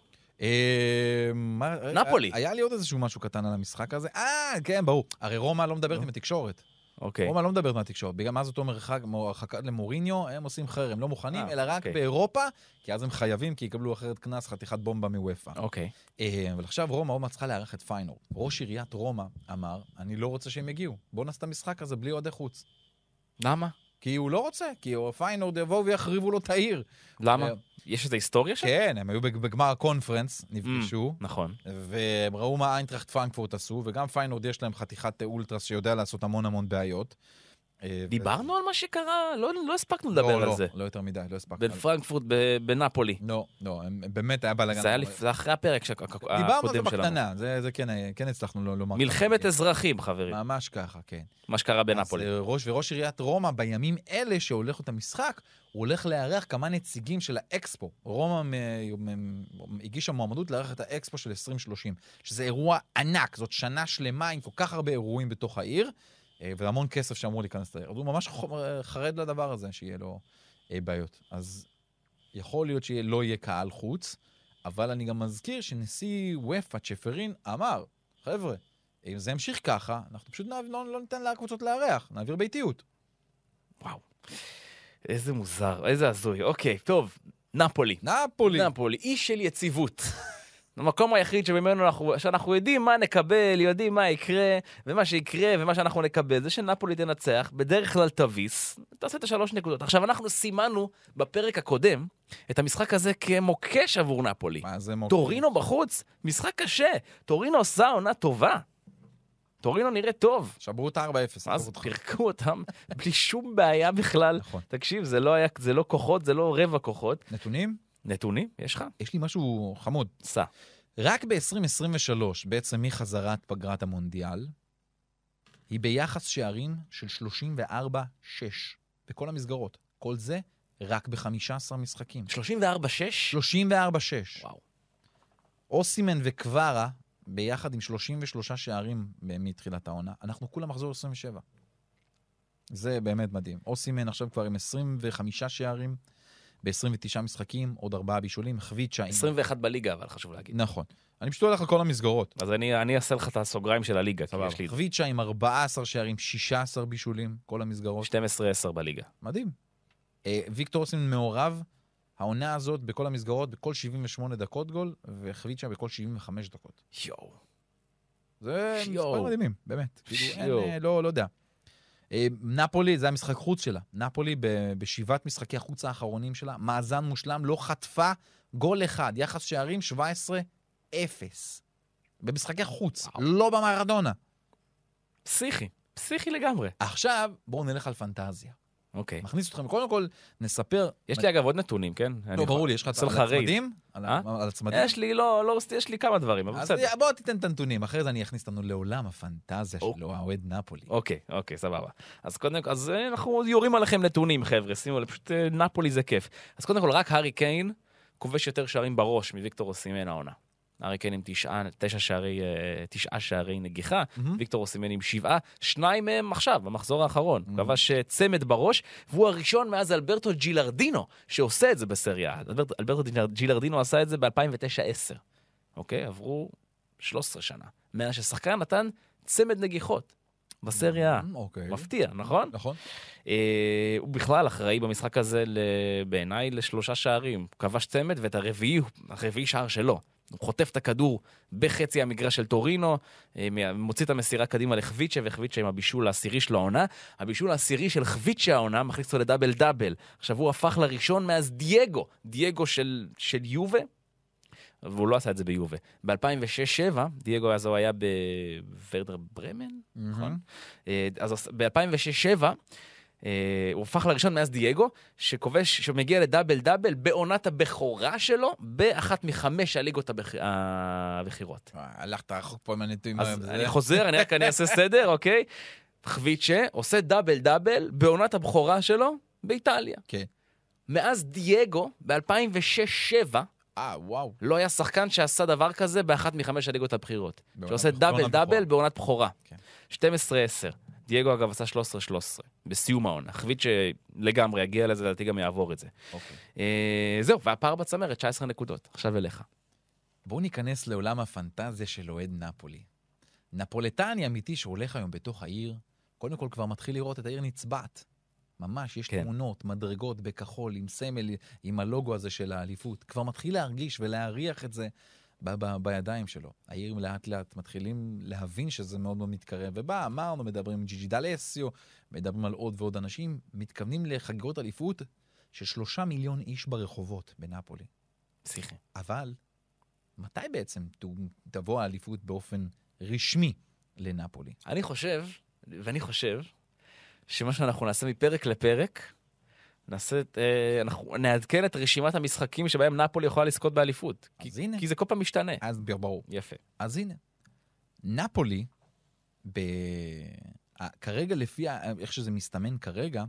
[SPEAKER 4] אה, מה-
[SPEAKER 3] נפולי.
[SPEAKER 4] היה לי עוד איזשהו משהו קטן על המשחק הזה. אה, כן, ברור. הרי רומא לא מדברת עם התקשורת.
[SPEAKER 3] אוקיי.
[SPEAKER 4] רומא לא מדברת מהתקשורת. בגלל מה זאת אומרת הרחק- מו- הרחקה למוריניו, הם עושים חרם. הם לא מוכנים,
[SPEAKER 3] אה,
[SPEAKER 4] אלא רק
[SPEAKER 3] אוקיי.
[SPEAKER 4] באירופה, כי אז הם חייבים, כי יקבלו אחרת קנס חתיכת בומבה מוופא.
[SPEAKER 3] אוקיי.
[SPEAKER 4] אה, אבל עכשיו רומא עוד מעט צריכה לארח את פיינור. ראש עיריית רומא אמר, אני לא רוצה שהם יגיעו. בואו נעשה את המשחק הזה בלי אוהדי חוץ.
[SPEAKER 3] למה?
[SPEAKER 4] כי הוא לא רוצה, כי הוא- פיינורד יבואו ויחריבו לו את העיר.
[SPEAKER 3] למה?
[SPEAKER 4] אה,
[SPEAKER 3] יש איזו היסטוריה שם?
[SPEAKER 4] כן, אה, הם היו בג- בגמר הקונפרנס, נפגשו,
[SPEAKER 3] נכון.
[SPEAKER 4] והם ראו מה איינטראכט פרנקפורט עשו, וגם פיינורד יש להם חתיכת אולטרס שיודע לעשות המון המון בעיות. אה, ו-
[SPEAKER 3] דיברנו על מה שקרה? לא לא הספקנו
[SPEAKER 4] לא,
[SPEAKER 3] לדבר
[SPEAKER 4] לא,
[SPEAKER 3] על זה.
[SPEAKER 4] לא יותר מדי, לא הספקנו.
[SPEAKER 3] בין
[SPEAKER 4] על-
[SPEAKER 3] פרנקפורט ב- בנפולי.
[SPEAKER 4] לא, לא, הם- באמת היה בלאגן.
[SPEAKER 3] זה היה לפ- זה אחרי הפרק ש- הקודם שלנו.
[SPEAKER 4] אה. דיברנו על זה בקטנה, זה זה כן היה- כן הצלחנו לא- לומר.
[SPEAKER 3] מלחמת אזרחים, חברים.
[SPEAKER 4] ממש ככה, כן.
[SPEAKER 3] מה שקרה בנפולי.
[SPEAKER 4] אז אה, ראש וראש עיריית רומא, בימים אלה שהולך את המשחק, הוא הולך לארח כמה נציגים של האקספו. רומא מ- מ- מ- הגישה מועמדות לארח את האקספו של 2030, שזה אירוע ענק, זאת שנה שלמה עם כל כך הרבה אירועים בתוך העיר, אה, והמון כסף שאמור להיכנס לעיר. אז הוא ממש חו- אה, חרד לדבר הזה, שיהיה לו אה, בעיות. אז יכול להיות שלא יהיה קהל חוץ, אבל אני גם מזכיר שנשיא וופא צ'פרין אמר, חבר'ה, אם זה ימשיך ככה, אנחנו פשוט נעב, לא, לא ניתן לקבוצות לארח, נעביר ביתיות.
[SPEAKER 3] וואו. איזה מוזר, איזה הזוי. אוקיי, טוב, נפולי.
[SPEAKER 4] נפולי.
[SPEAKER 3] נפולי, אי של יציבות. המקום היחיד שממנו אנחנו, שאנחנו יודעים מה נקבל, יודעים מה יקרה, ומה שיקרה ומה שאנחנו נקבל, זה שנפולי תנצח, בדרך כלל תביס, תעשה את השלוש נקודות. עכשיו, אנחנו סימנו בפרק הקודם את המשחק הזה כמוקש עבור נפולי.
[SPEAKER 4] מה זה מוקד?
[SPEAKER 3] טורינו בחוץ, משחק קשה. טורינו עושה עונה טובה. טורינו נראה טוב.
[SPEAKER 4] שברו את ה-4-0.
[SPEAKER 3] אז פירקו אותם בלי שום בעיה בכלל.
[SPEAKER 4] נכון.
[SPEAKER 3] תקשיב, זה לא, היה, זה לא כוחות, זה לא רבע כוחות.
[SPEAKER 4] נתונים?
[SPEAKER 3] נתונים? יש לך?
[SPEAKER 4] יש לי משהו חמוד.
[SPEAKER 3] סע.
[SPEAKER 4] רק ב-2023, בעצם מחזרת פגרת המונדיאל, היא ביחס שערים של 34-6 בכל המסגרות. כל זה רק ב-15 משחקים.
[SPEAKER 3] 34-6?
[SPEAKER 4] 34-6.
[SPEAKER 3] וואו.
[SPEAKER 4] אוסימן וקווארה, ביחד עם 33 שערים מתחילת העונה, אנחנו כולה מחזור 27. זה באמת מדהים. אוסימן עכשיו כבר עם 25 שערים, ב-29 משחקים, עוד ארבעה בישולים, חביצ'ה עם...
[SPEAKER 3] 21 בליגה, אבל חשוב להגיד.
[SPEAKER 4] נכון. אני פשוט הולך על כל המסגרות.
[SPEAKER 3] אז אני, אני אעשה לך את הסוגריים של הליגה, כי יש לי
[SPEAKER 4] חביצ'ה עם 14 שערים, 16 בישולים, כל המסגרות.
[SPEAKER 3] 12-10 בליגה.
[SPEAKER 4] מדהים. אה, ויקטור אוסימן מעורב, העונה הזאת בכל המסגרות, בכל 78 דקות גול, וחביצ'ה בכל 75 דקות.
[SPEAKER 3] יואו.
[SPEAKER 4] זה מספרים
[SPEAKER 3] יואו.
[SPEAKER 4] מדהימים, באמת. כאילו, אין,
[SPEAKER 3] יואו.
[SPEAKER 4] אה, לא, לא יודע. אה, נפולי, זה המשחק חוץ שלה. נפולי ב- בשבעת משחקי החוץ האחרונים שלה, מאזן מושלם, לא חטפה גול אחד, יחס שערים 17-0. במשחקי חוץ, לא במרדונה.
[SPEAKER 3] פסיכי. פסיכי לגמרי.
[SPEAKER 4] עכשיו, בואו נלך על פנטזיה.
[SPEAKER 3] אוקיי.
[SPEAKER 4] מכניס אתכם, קודם כל נספר...
[SPEAKER 3] יש לי אגב עוד נתונים, כן? אני
[SPEAKER 4] לא,
[SPEAKER 3] יכול-
[SPEAKER 4] ברור לי, יש לך
[SPEAKER 3] עושה
[SPEAKER 4] על
[SPEAKER 3] רייד.
[SPEAKER 4] הצמדים? על ה-
[SPEAKER 3] אה?
[SPEAKER 4] על הצמדים?
[SPEAKER 3] יש לי, לא, לא, יש לי כמה דברים, אבל
[SPEAKER 4] אז
[SPEAKER 3] בסדר.
[SPEAKER 4] בוא תיתן את הנתונים, אחרת אני אכניס אותנו לעולם הפנטזיה
[SPEAKER 3] או.
[SPEAKER 4] של האוהד נפולי.
[SPEAKER 3] אוקיי, אוקיי, סבבה. אז קודם כל, אז אה, אנחנו יורים עליכם נתונים, חבר'ה, שימו לב, פשוט אה, נפולי זה כיף. אז קודם כל, רק הארי קיין כובש יותר שערים בראש מוויקטור אוסימן העונה. הארי קיין עם תשעה, תשע שערי, אה, תשעה שערי נגיחה,
[SPEAKER 4] Hmm?
[SPEAKER 3] ויקטור אוסימן עם שבעה, שניים מהם עכשיו, במחזור האחרון. הוא כבש אה, צמד בראש, והוא הראשון מאז אלברטו ג'ילרדינו שעושה את זה בסריה. A. אלברט, אלברטו ג'ילר- ג'ילרדינו עשה את זה ב-2009-2010. אוקיי? עברו 13 שנה. מאז ששחקן נתן צמד נגיחות בסריה. A.
[SPEAKER 4] Mm, אוקיי.
[SPEAKER 3] מפתיע, נכון?
[SPEAKER 4] נכון?
[SPEAKER 3] אה, הוא בכלל אחראי במשחק הזה, ל- בעיניי, לשלושה שערים. כבש צמד ואת הרביעי, הרביעי שער שלו. הוא חוטף את הכדור בחצי המגרש של טורינו, אה, מה- מוציא את המסירה קדימה לחביצ'ה, וחביצ'ה עם הבישול העשירי של העונה. הבישול העשירי של חביצ'ה העונה מכניס אותו לדאבל דאבל. עכשיו הוא הפך לראשון מאז דייגו, דייגו של, של יובה, והוא לא עשה את זה ביובה. ב-2006-2007, דייגו אז הוא היה בוורדר ברמן, נכון? אה, אז ב-2006-2007, אה, הוא הפך לראשון מאז דייגו, שכובש, שמגיע לדאבל דאבל בעונת הבכורה שלו, באחת מחמש הליגות הבכ- הבכירות.
[SPEAKER 4] וואי, הלכת רחוק פה עם הנתונים. היום,
[SPEAKER 3] אז
[SPEAKER 4] זה-
[SPEAKER 3] אני חוזר, אני רק אני אעשה סדר, אוקיי? חביצ'ה עושה דאבל דאבל בעונת הבכורה שלו באיטליה.
[SPEAKER 4] כן.
[SPEAKER 3] מאז דייגו, ב-2006-2007,
[SPEAKER 4] אה, וואו.
[SPEAKER 3] לא היה שחקן שעשה דבר כזה באחת מחמש הליגות הבכירות.
[SPEAKER 4] בעונת
[SPEAKER 3] שעושה
[SPEAKER 4] בכורה,
[SPEAKER 3] דאבל
[SPEAKER 4] בעונת
[SPEAKER 3] דאבל
[SPEAKER 4] בכורה.
[SPEAKER 3] בעונת בכורה.
[SPEAKER 4] כן.
[SPEAKER 3] 12-10. דייגו אגב עשה 13-13, בסיום העונה. חביט שלגמרי יגיע לזה, לדעתי גם יעבור את זה.
[SPEAKER 4] אוקיי.
[SPEAKER 3] אה, זהו, והפער בצמרת, 19 נקודות. עכשיו אליך.
[SPEAKER 4] בואו ניכנס לעולם הפנטזיה של אוהד נפולי. נפולטני אמיתי שהולך היום בתוך העיר, קודם כל כבר מתחיל לראות את העיר נצבעת. ממש, יש
[SPEAKER 3] כן.
[SPEAKER 4] כן. תמונות, מדרגות בכחול, עם סמל, עם הלוגו הזה של האליפות. כבר מתחיל להרגיש ולהריח את זה ב- ב- בידיים שלו. העיר לאט-לאט מתחילים להבין שזה מאוד מאוד מתקרב. ובא, אמרנו, מדברים עם ג'יג'י דלסיו, מדברים על עוד ועוד אנשים, מתכוונים לחגיגות אליפות של שלושה מיליון איש ברחובות בנפולי.
[SPEAKER 3] פסיכי.
[SPEAKER 4] אבל מתי בעצם ת- תבוא האליפות באופן רשמי לנפולי?
[SPEAKER 3] אני חושב, ואני חושב, שמה שאנחנו נעשה מפרק לפרק, נעשה, את, אה, אנחנו נעדכן את רשימת המשחקים שבהם נפולי יכולה לזכות באליפות. כי,
[SPEAKER 4] אז הנה.
[SPEAKER 3] כי זה כל פעם משתנה.
[SPEAKER 4] אז ב- ברור.
[SPEAKER 3] יפה.
[SPEAKER 4] אז הנה, נפולי, ב... ה- כרגע לפי ה- איך שזה מסתמן כרגע,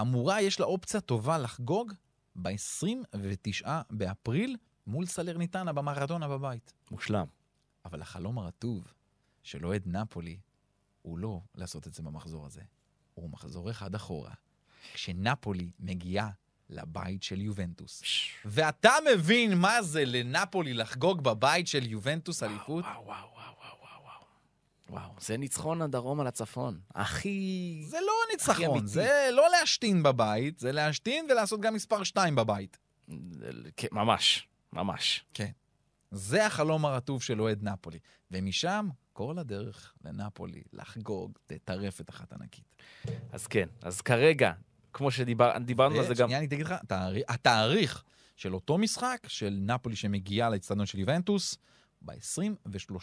[SPEAKER 4] אמורה, יש לה אופציה טובה לחגוג ב-29 באפריל מול סלרניטנה במרדונה בבית.
[SPEAKER 3] מושלם.
[SPEAKER 4] אבל החלום הרטוב של אוהד נפולי הוא לא לעשות את זה במחזור הזה, הוא מחזור אחד אחורה, כשנפולי מגיעה לבית של יובנטוס. ואתה מבין מה זה לנפולי לחגוג בבית של יובנטוס אליפות?
[SPEAKER 3] וואו, וואו, וואו, וואו, וואו, וואו. וואו, זה ניצחון הדרום על הצפון. הכי...
[SPEAKER 4] זה לא
[SPEAKER 3] הכי
[SPEAKER 4] ניצחון,
[SPEAKER 3] אמיתי.
[SPEAKER 4] זה לא להשתין בבית, זה להשתין ולעשות גם מספר 2 בבית.
[SPEAKER 3] כן, ממש, ממש.
[SPEAKER 4] זה החלום הרטוב של אוהד נפולי. ומשם, כל הדרך לנפולי, לחגוג, תטרף את אחת ענקית.
[SPEAKER 3] אז כן, אז כרגע, כמו שדיברנו על זה גם...
[SPEAKER 4] אה, שנייה, אני אגיד לך, התארי- התאריך של אותו משחק, של נפולי שמגיעה לאצטדיון של יובנטוס, ב-23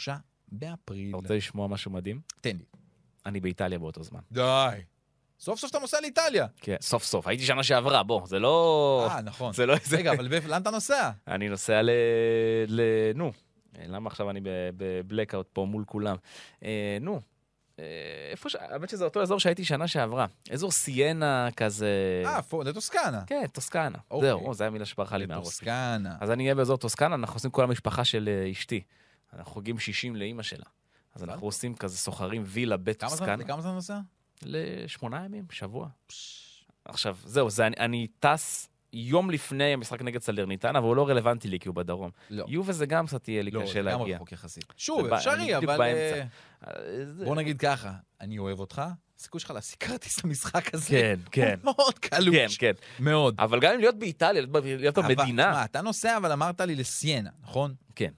[SPEAKER 4] באפריל.
[SPEAKER 3] אתה רוצה לשמוע משהו מדהים?
[SPEAKER 4] תן לי.
[SPEAKER 3] אני באיטליה באותו זמן.
[SPEAKER 4] די. סוף סוף אתה נוסע לאיטליה.
[SPEAKER 3] כן, סוף סוף. הייתי שנה שעברה, בוא, זה לא...
[SPEAKER 4] אה, נכון.
[SPEAKER 3] זה לא איזה...
[SPEAKER 4] רגע, אבל באיפה- לאן אתה נוסע?
[SPEAKER 3] אני נוסע ל... ל... נו, אה, למה עכשיו אני ב- בבלקאוט פה מול כולם? אה, נו, אה, איפה ש... האמת שזה אותו אזור שהייתי שנה שעברה. אזור סיינה כזה...
[SPEAKER 4] אה, פה, לטוסקנה.
[SPEAKER 3] כן, טוסקנה.
[SPEAKER 4] אוקיי.
[SPEAKER 3] זהו, או, זו המילה שברחה לי מהראש. אה,
[SPEAKER 4] לטוסקנה.
[SPEAKER 3] אז אני אהיה באזור טוסקנה, אנחנו עושים כל המשפחה של אה, אשתי. אנחנו חוגגים 60 לאימא שלה. אז אנחנו עושים כזה סוחרים וילה
[SPEAKER 4] כמה זמן-
[SPEAKER 3] בטוסקנה.
[SPEAKER 4] לכמה זמן נוסע?
[SPEAKER 3] לשמונה ימים, שבוע. עכשיו, זהו, זה, אני, אני טס יום לפני המשחק נגד סלרניטנה, והוא לא רלוונטי לי כי הוא בדרום.
[SPEAKER 4] לא.
[SPEAKER 3] יובה זה גם קצת יהיה לי
[SPEAKER 4] לא,
[SPEAKER 3] קשה
[SPEAKER 4] זה גם
[SPEAKER 3] להגיע.
[SPEAKER 4] רחוק יחסית. שוב,
[SPEAKER 3] זה בא- אני
[SPEAKER 4] אפשרי,
[SPEAKER 3] בדיוק
[SPEAKER 4] אבל... אה,
[SPEAKER 3] באמצע. אה, זה-
[SPEAKER 4] בוא נגיד ככה, אני אוהב אותך, הסיכוי שלך להשיג כרטיס למשחק הזה
[SPEAKER 3] כן, כן.
[SPEAKER 4] הוא מאוד קלוש.
[SPEAKER 3] כן, כן.
[SPEAKER 4] מאוד.
[SPEAKER 3] אבל גם אם להיות באיטליה, להיות ב- להיות
[SPEAKER 4] אבל-
[SPEAKER 3] במדינה.
[SPEAKER 4] תשמע, אתה נוסע, אבל אמרת לי לסיינה, נכון?
[SPEAKER 3] כן.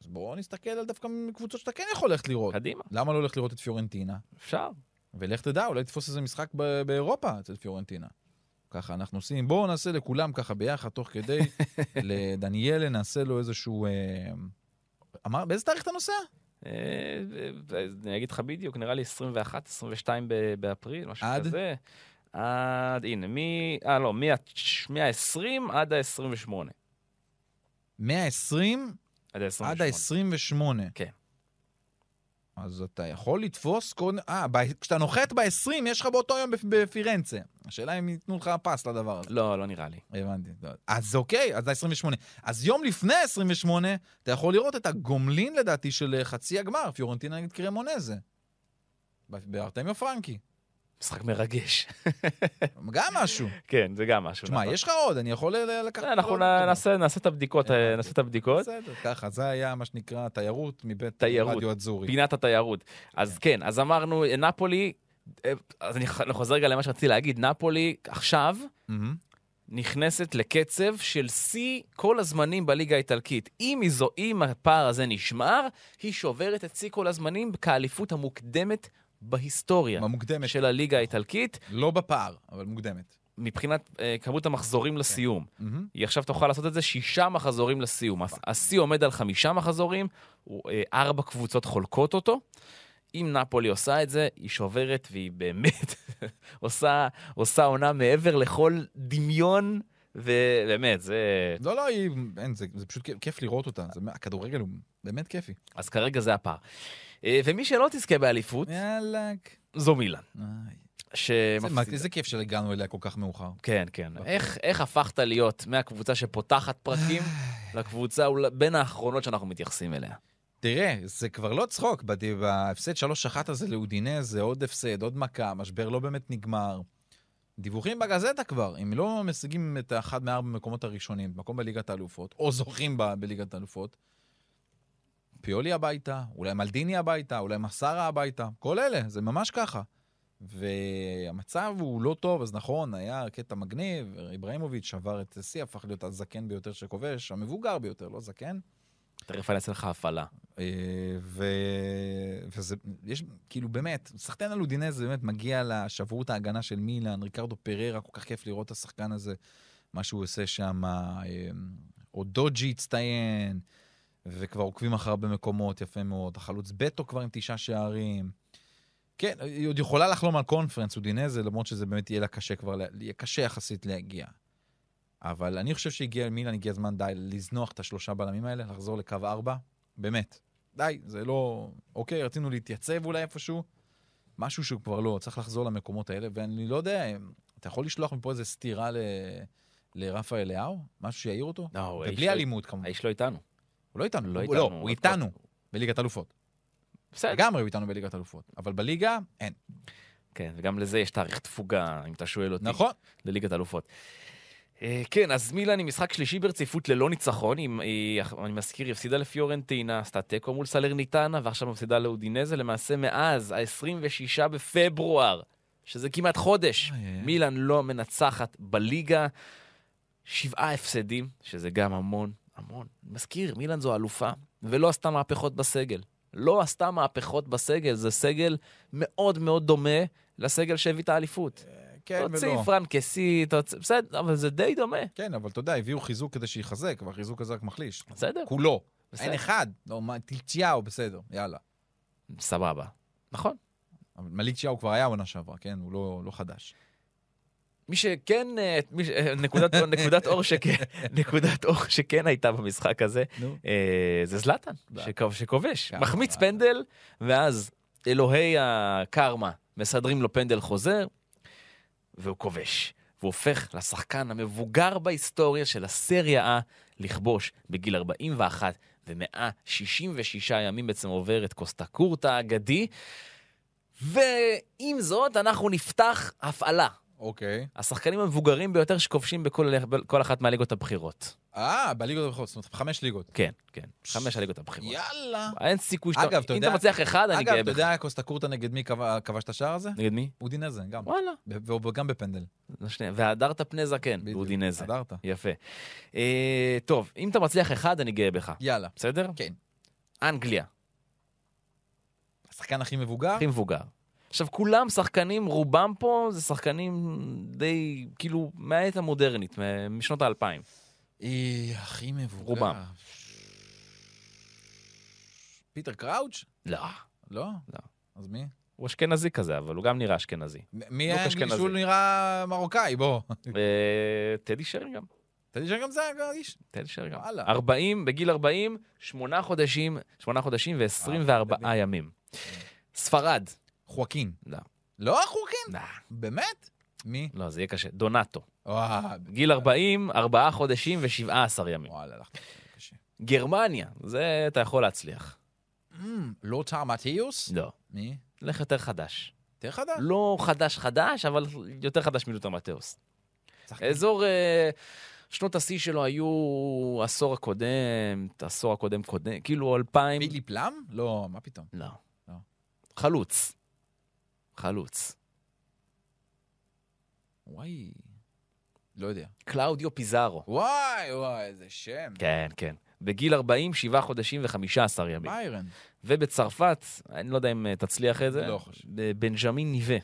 [SPEAKER 4] אז בואו נסתכל על דווקא קבוצות שאתה כן יכול ללכת לראות.
[SPEAKER 3] קדימה,
[SPEAKER 4] למה לא ללכת לראות את פיורנטינה?
[SPEAKER 3] אפשר.
[SPEAKER 4] ולך תדע, אולי תתפוס איזה משחק ב- באירופה אצל פיורנטינה. ככה אנחנו עושים, בואו נעשה לכולם ככה ביחד, תוך כדי, לדניאלה נעשה לו איזשהו... אה, אמר, באיזה תאריך אתה נוסע?
[SPEAKER 3] אה, אה, אני אגיד לך בדיוק, נראה לי 21, 22 ב- באפריל, משהו
[SPEAKER 4] עד?
[SPEAKER 3] כזה. עד, הנה, מ... אה, לא, מה-20 עד ה-28.
[SPEAKER 4] 120
[SPEAKER 3] עד ה-28.
[SPEAKER 4] עד ה-28.
[SPEAKER 3] כן.
[SPEAKER 4] אז אתה יכול לתפוס קודם... אה, ב- כשאתה נוחת ב-20, יש לך באותו יום בפ- בפירנצה. השאלה אם ייתנו לך פס לדבר הזה.
[SPEAKER 3] לא, לא נראה לי.
[SPEAKER 4] הבנתי. לא. אז אוקיי, אז ה-28. אז יום לפני ה-28, אתה יכול לראות את הגומלין, לדעתי, של אה, חצי הגמר, פיורנטינה נגד קרמונזה. ב- בארטמיו פרנקי.
[SPEAKER 3] משחק מרגש.
[SPEAKER 4] גם משהו.
[SPEAKER 3] כן, זה גם משהו.
[SPEAKER 4] תשמע,
[SPEAKER 3] נכון. אה,
[SPEAKER 4] יש לא לך עוד, אני יכול אה, ל- ל- לקחת...
[SPEAKER 3] אנחנו
[SPEAKER 4] עוד.
[SPEAKER 3] נ- נעשה נעשה את הבדיקות, אה, נעשה את הבדיקות.
[SPEAKER 4] בסדר, ככה, זה היה מה שנקרא תיירות מבית
[SPEAKER 3] תיירות.
[SPEAKER 4] רדיו אדזורי.
[SPEAKER 3] פינת התיירות. אז כן, אז אמרנו, אה, נפולי, אה, אז אני ח- חוזר רגע למה שרציתי להגיד, נפולי עכשיו
[SPEAKER 4] מהמם.
[SPEAKER 3] נכנסת לקצב של שיא כל הזמנים בליגה האיטלקית. אם, היא זו, אם הפער הזה נשמר, היא שוברת את שיא כל הזמנים כאליפות המוקדמת בהיסטוריה
[SPEAKER 4] במוקדמת.
[SPEAKER 3] של הליגה האיטלקית,
[SPEAKER 4] לא בפער, אבל מוקדמת.
[SPEAKER 3] מבחינת אה, כמות המחזורים לסיום.
[SPEAKER 4] מהמם.
[SPEAKER 3] היא עכשיו תוכל לעשות את זה שישה מחזורים לסיום. הס- השיא עומד על חמישה מחזורים, הוא, אה, ארבע קבוצות חולקות אותו. אם נפולי עושה את זה, היא שוברת והיא באמת עושה, עושה עונה מעבר לכל דמיון, ובאמת, זה...
[SPEAKER 4] לא, לא, היא... אין, זה זה פשוט כיף- כיף לראות אותה. זה- הכדורגל הוא באמת כיפי.
[SPEAKER 3] אז כרגע זה הפער. אה, ומי שלא תזכה באליפות,
[SPEAKER 4] יאללה.
[SPEAKER 3] זו מילאן.
[SPEAKER 4] איי. אה. זה- אוקיי. מה-
[SPEAKER 3] שמפסידה.
[SPEAKER 4] איזה כיף שהגענו אליה כל כך מאוחר.
[SPEAKER 3] כן, כן. איך, איך הפכת להיות מהקבוצה שפותחת פרקים
[SPEAKER 4] אה.
[SPEAKER 3] לקבוצה אולי- בין האחרונות שאנחנו מתייחסים אליה?
[SPEAKER 4] תראה, זה כבר לא צחוק, בד- בהפסד 3-1 הזה לאודינז, זה עוד הפסד, עוד מכה, המשבר לא באמת נגמר. דיווחים בגזטה כבר, אם לא משיגים את האחד מארבע מקומות הראשונים, מקום בליגת האלופות, או זוכים ב- בליגת האלופות, פיולי הביתה, אולי מלדיני הביתה, אולי מסרה הביתה, כל אלה, זה ממש ככה. והמצב הוא לא טוב, אז נכון, היה קטע מגניב, אברהימוביץ' שבר את השיא, הפך להיות הזקן ביותר שכובש, המבוגר ביותר, לא זקן.
[SPEAKER 3] תכף אני אעשה לך הפעלה.
[SPEAKER 4] אה, ו... וזה, יש, כאילו באמת, סחטיין על אודינז, זה באמת מגיע לשברות ההגנה של מילאן, ריקרדו פררה, כל כך כיף לראות את השחקן הזה, מה שהוא עושה שם, אה, אודוג'י הצטיין, וכבר עוקבים אחר הרבה מקומות, יפה מאוד, החלוץ בטו כבר עם תשעה שערים. כן, היא עוד יכולה לחלום על קונפרנס אודינזה, למרות שזה באמת יהיה לה קשה כבר, לה- יהיה קשה יחסית להגיע. אבל אני חושב שהגיע מילאן, הגיע הזמן די לזנוח את השלושה בלמים האלה, לחזור לקו ארבע, באמת. די, זה לא... אוקיי, רצינו להתייצב אולי איפשהו, משהו שהוא כבר לא, צריך לחזור למקומות האלה, ואני לא יודע, אתה יכול לשלוח מפה איזה סטירה ל... לרפה אליהו? משהו שיעיר אותו?
[SPEAKER 3] לא, הוא האיש
[SPEAKER 4] ובלי
[SPEAKER 3] לא-
[SPEAKER 4] אלימות כמובן.
[SPEAKER 3] האיש לא איתנו.
[SPEAKER 4] הוא לא איתנו,
[SPEAKER 3] לא כן.
[SPEAKER 4] הוא-
[SPEAKER 3] איתנו,
[SPEAKER 4] לא,
[SPEAKER 3] עוד
[SPEAKER 4] הוא איתנו בליגת אלופות.
[SPEAKER 3] בסדר.
[SPEAKER 4] לגמרי הוא איתנו בליגת אלופות, אבל בליגה אין.
[SPEAKER 3] כן, וגם לזה יש תאריך תפוגה, אם אתה שואל אותי.
[SPEAKER 4] נכון?
[SPEAKER 3] לליגת אלופות. אה, כן, אז מילאן עם משחק שלישי ברציפות ללא ניצחון. היא, היא, אני מזכיר, היא הפסידה לפיורנטינה, עשתה תיקו מול סלרניטנה, ועכשיו מפסידה לאודינזה. למעשה, מאז ה-26 בפברואר, שזה כמעט חודש,
[SPEAKER 4] איי.
[SPEAKER 3] מילאן לא מנצחת בליגה. שבעה הפסדים, שזה גם המון, המון. אני מזכיר, מילאן זו אלופה, ולא עשתה מהפכות בסגל. לא עשתה מהפכות בסגל, זה סגל מאוד מאוד דומה לסגל שהביא את האליפות.
[SPEAKER 4] כן
[SPEAKER 3] תוציא פרנקסי, תוציא, בסדר, אבל זה די דומה.
[SPEAKER 4] כן, אבל אתה יודע, הביאו חיזוק כדי שיחזק, והחיזוק הזה רק מחליש.
[SPEAKER 3] בסדר,
[SPEAKER 4] כולו.
[SPEAKER 3] בסדר.
[SPEAKER 4] אין אחד. לא, מה, טיצ'יהו, בסדר, יאללה.
[SPEAKER 3] סבבה. נכון.
[SPEAKER 4] אבל מליק צ'יהו כבר היה עונה שעברה, כן? הוא לא, לא חדש.
[SPEAKER 3] מי שכן, אה, מי ש... אה, נקודת, נקודת, אור שכן, נקודת אור שכן הייתה במשחק הזה,
[SPEAKER 4] נו.
[SPEAKER 3] אה, זה זלאטן, שכו- שכובש.
[SPEAKER 4] כמה
[SPEAKER 3] מחמיץ
[SPEAKER 4] זלאטן.
[SPEAKER 3] פנדל, ואז אלוהי הקרמה מסדרים לו פנדל חוזר, והוא כובש. והוא הופך לשחקן המבוגר בהיסטוריה של הסריה A לכבוש בגיל 41 ו-166 ימים בעצם עובר את קוסטה קורטה האגדי. ועם זאת, אנחנו נפתח הפעלה.
[SPEAKER 4] אוקיי.
[SPEAKER 3] השחקנים המבוגרים ביותר שכובשים בכל, בכל אחת מהליגות הבכירות.
[SPEAKER 4] אה, בליגות הבכירות, זאת אומרת, חמש ליגות.
[SPEAKER 3] כן, כן. חמש הליגות הבכירות.
[SPEAKER 4] יאללה.
[SPEAKER 3] אין סיכוי שאתה...
[SPEAKER 4] אגב, אתה
[SPEAKER 3] אם
[SPEAKER 4] יודע-
[SPEAKER 3] אתה מצליח אחד, אני
[SPEAKER 4] אגב,
[SPEAKER 3] גאה
[SPEAKER 4] אתה
[SPEAKER 3] בך.
[SPEAKER 4] יודע קוסטה קורטה נגד מי כבש- כבש את השער הזה?
[SPEAKER 3] נגד מי?
[SPEAKER 4] אודינזה, גם.
[SPEAKER 3] וואלה.
[SPEAKER 4] ב- וגם בפנדל.
[SPEAKER 3] זה שנייה. והדרת פני זקן,
[SPEAKER 4] בדיוק.
[SPEAKER 3] אודינזה.
[SPEAKER 4] הדרת.
[SPEAKER 3] יפה. אה, טוב, אם אתה מצליח אחד, אני גאה בך.
[SPEAKER 4] יאללה.
[SPEAKER 3] בסדר?
[SPEAKER 4] כן.
[SPEAKER 3] אנגליה,
[SPEAKER 4] השחקן הכי מבוגר?
[SPEAKER 3] הכי מבוגר. עכשיו, כולם שחקנים, רובם פה זה שחקנים די, כאילו, מהעת המודרנית, מ- משנות האלפיים.
[SPEAKER 4] אה, הכי מבוגר.
[SPEAKER 3] רובם.
[SPEAKER 4] פיטר קראוץ'?
[SPEAKER 3] לא.
[SPEAKER 4] לא?
[SPEAKER 3] לא.
[SPEAKER 4] אז מי?
[SPEAKER 3] הוא אשכנזי כזה, אבל הוא גם נראה אשכנזי.
[SPEAKER 4] מ- מי היה
[SPEAKER 3] לוק
[SPEAKER 4] אנגלי
[SPEAKER 3] אשכנזי.
[SPEAKER 4] שהוא נראה מרוקאי, בוא.
[SPEAKER 3] אה, טדי שר גם.
[SPEAKER 4] אתה יודע שגם זה היה איש.
[SPEAKER 3] תל שר גם.
[SPEAKER 4] וואלה.
[SPEAKER 3] 40, בגיל 40, 8 חודשים, 8 חודשים
[SPEAKER 4] אה,
[SPEAKER 3] ו-24 ימים. ספרד.
[SPEAKER 4] חואקין.
[SPEAKER 3] לא.
[SPEAKER 4] לא חואקין?
[SPEAKER 3] לא,
[SPEAKER 4] באמת? מי?
[SPEAKER 3] לא, זה יהיה קשה. דונטו.
[SPEAKER 4] וואו,
[SPEAKER 3] גיל 40, 4 חודשים ו-17 ימים.
[SPEAKER 4] וואלה, הלכת קשה.
[SPEAKER 3] גרמניה, זה אתה יכול להצליח.
[SPEAKER 4] אמ, לוטר מתיוס?
[SPEAKER 3] לא.
[SPEAKER 4] מי?
[SPEAKER 3] לך יותר חדש.
[SPEAKER 4] תראה חדש.
[SPEAKER 3] לא חדש חדש, אבל יותר חדש מלותר מתאוס. אזור... אה, שנות השיא שלו היו עשור הקודם, את העשור הקודם קודם, כאילו 2000...
[SPEAKER 4] פיליפ לאם? לא, מה פתאום.
[SPEAKER 3] לא.
[SPEAKER 4] לא.
[SPEAKER 3] חלוץ. חלוץ.
[SPEAKER 4] וואי. לא יודע.
[SPEAKER 3] קלאודיו פיזארו.
[SPEAKER 4] וואי, וואי, איזה שם.
[SPEAKER 3] כן, כן. בגיל 40, 7 חודשים ו-15 ימים.
[SPEAKER 4] ביירן.
[SPEAKER 3] ובצרפת, אני לא יודע אם אה, תצליח את זה,
[SPEAKER 4] לא חושב.
[SPEAKER 3] ב- בנג'מין ניבה,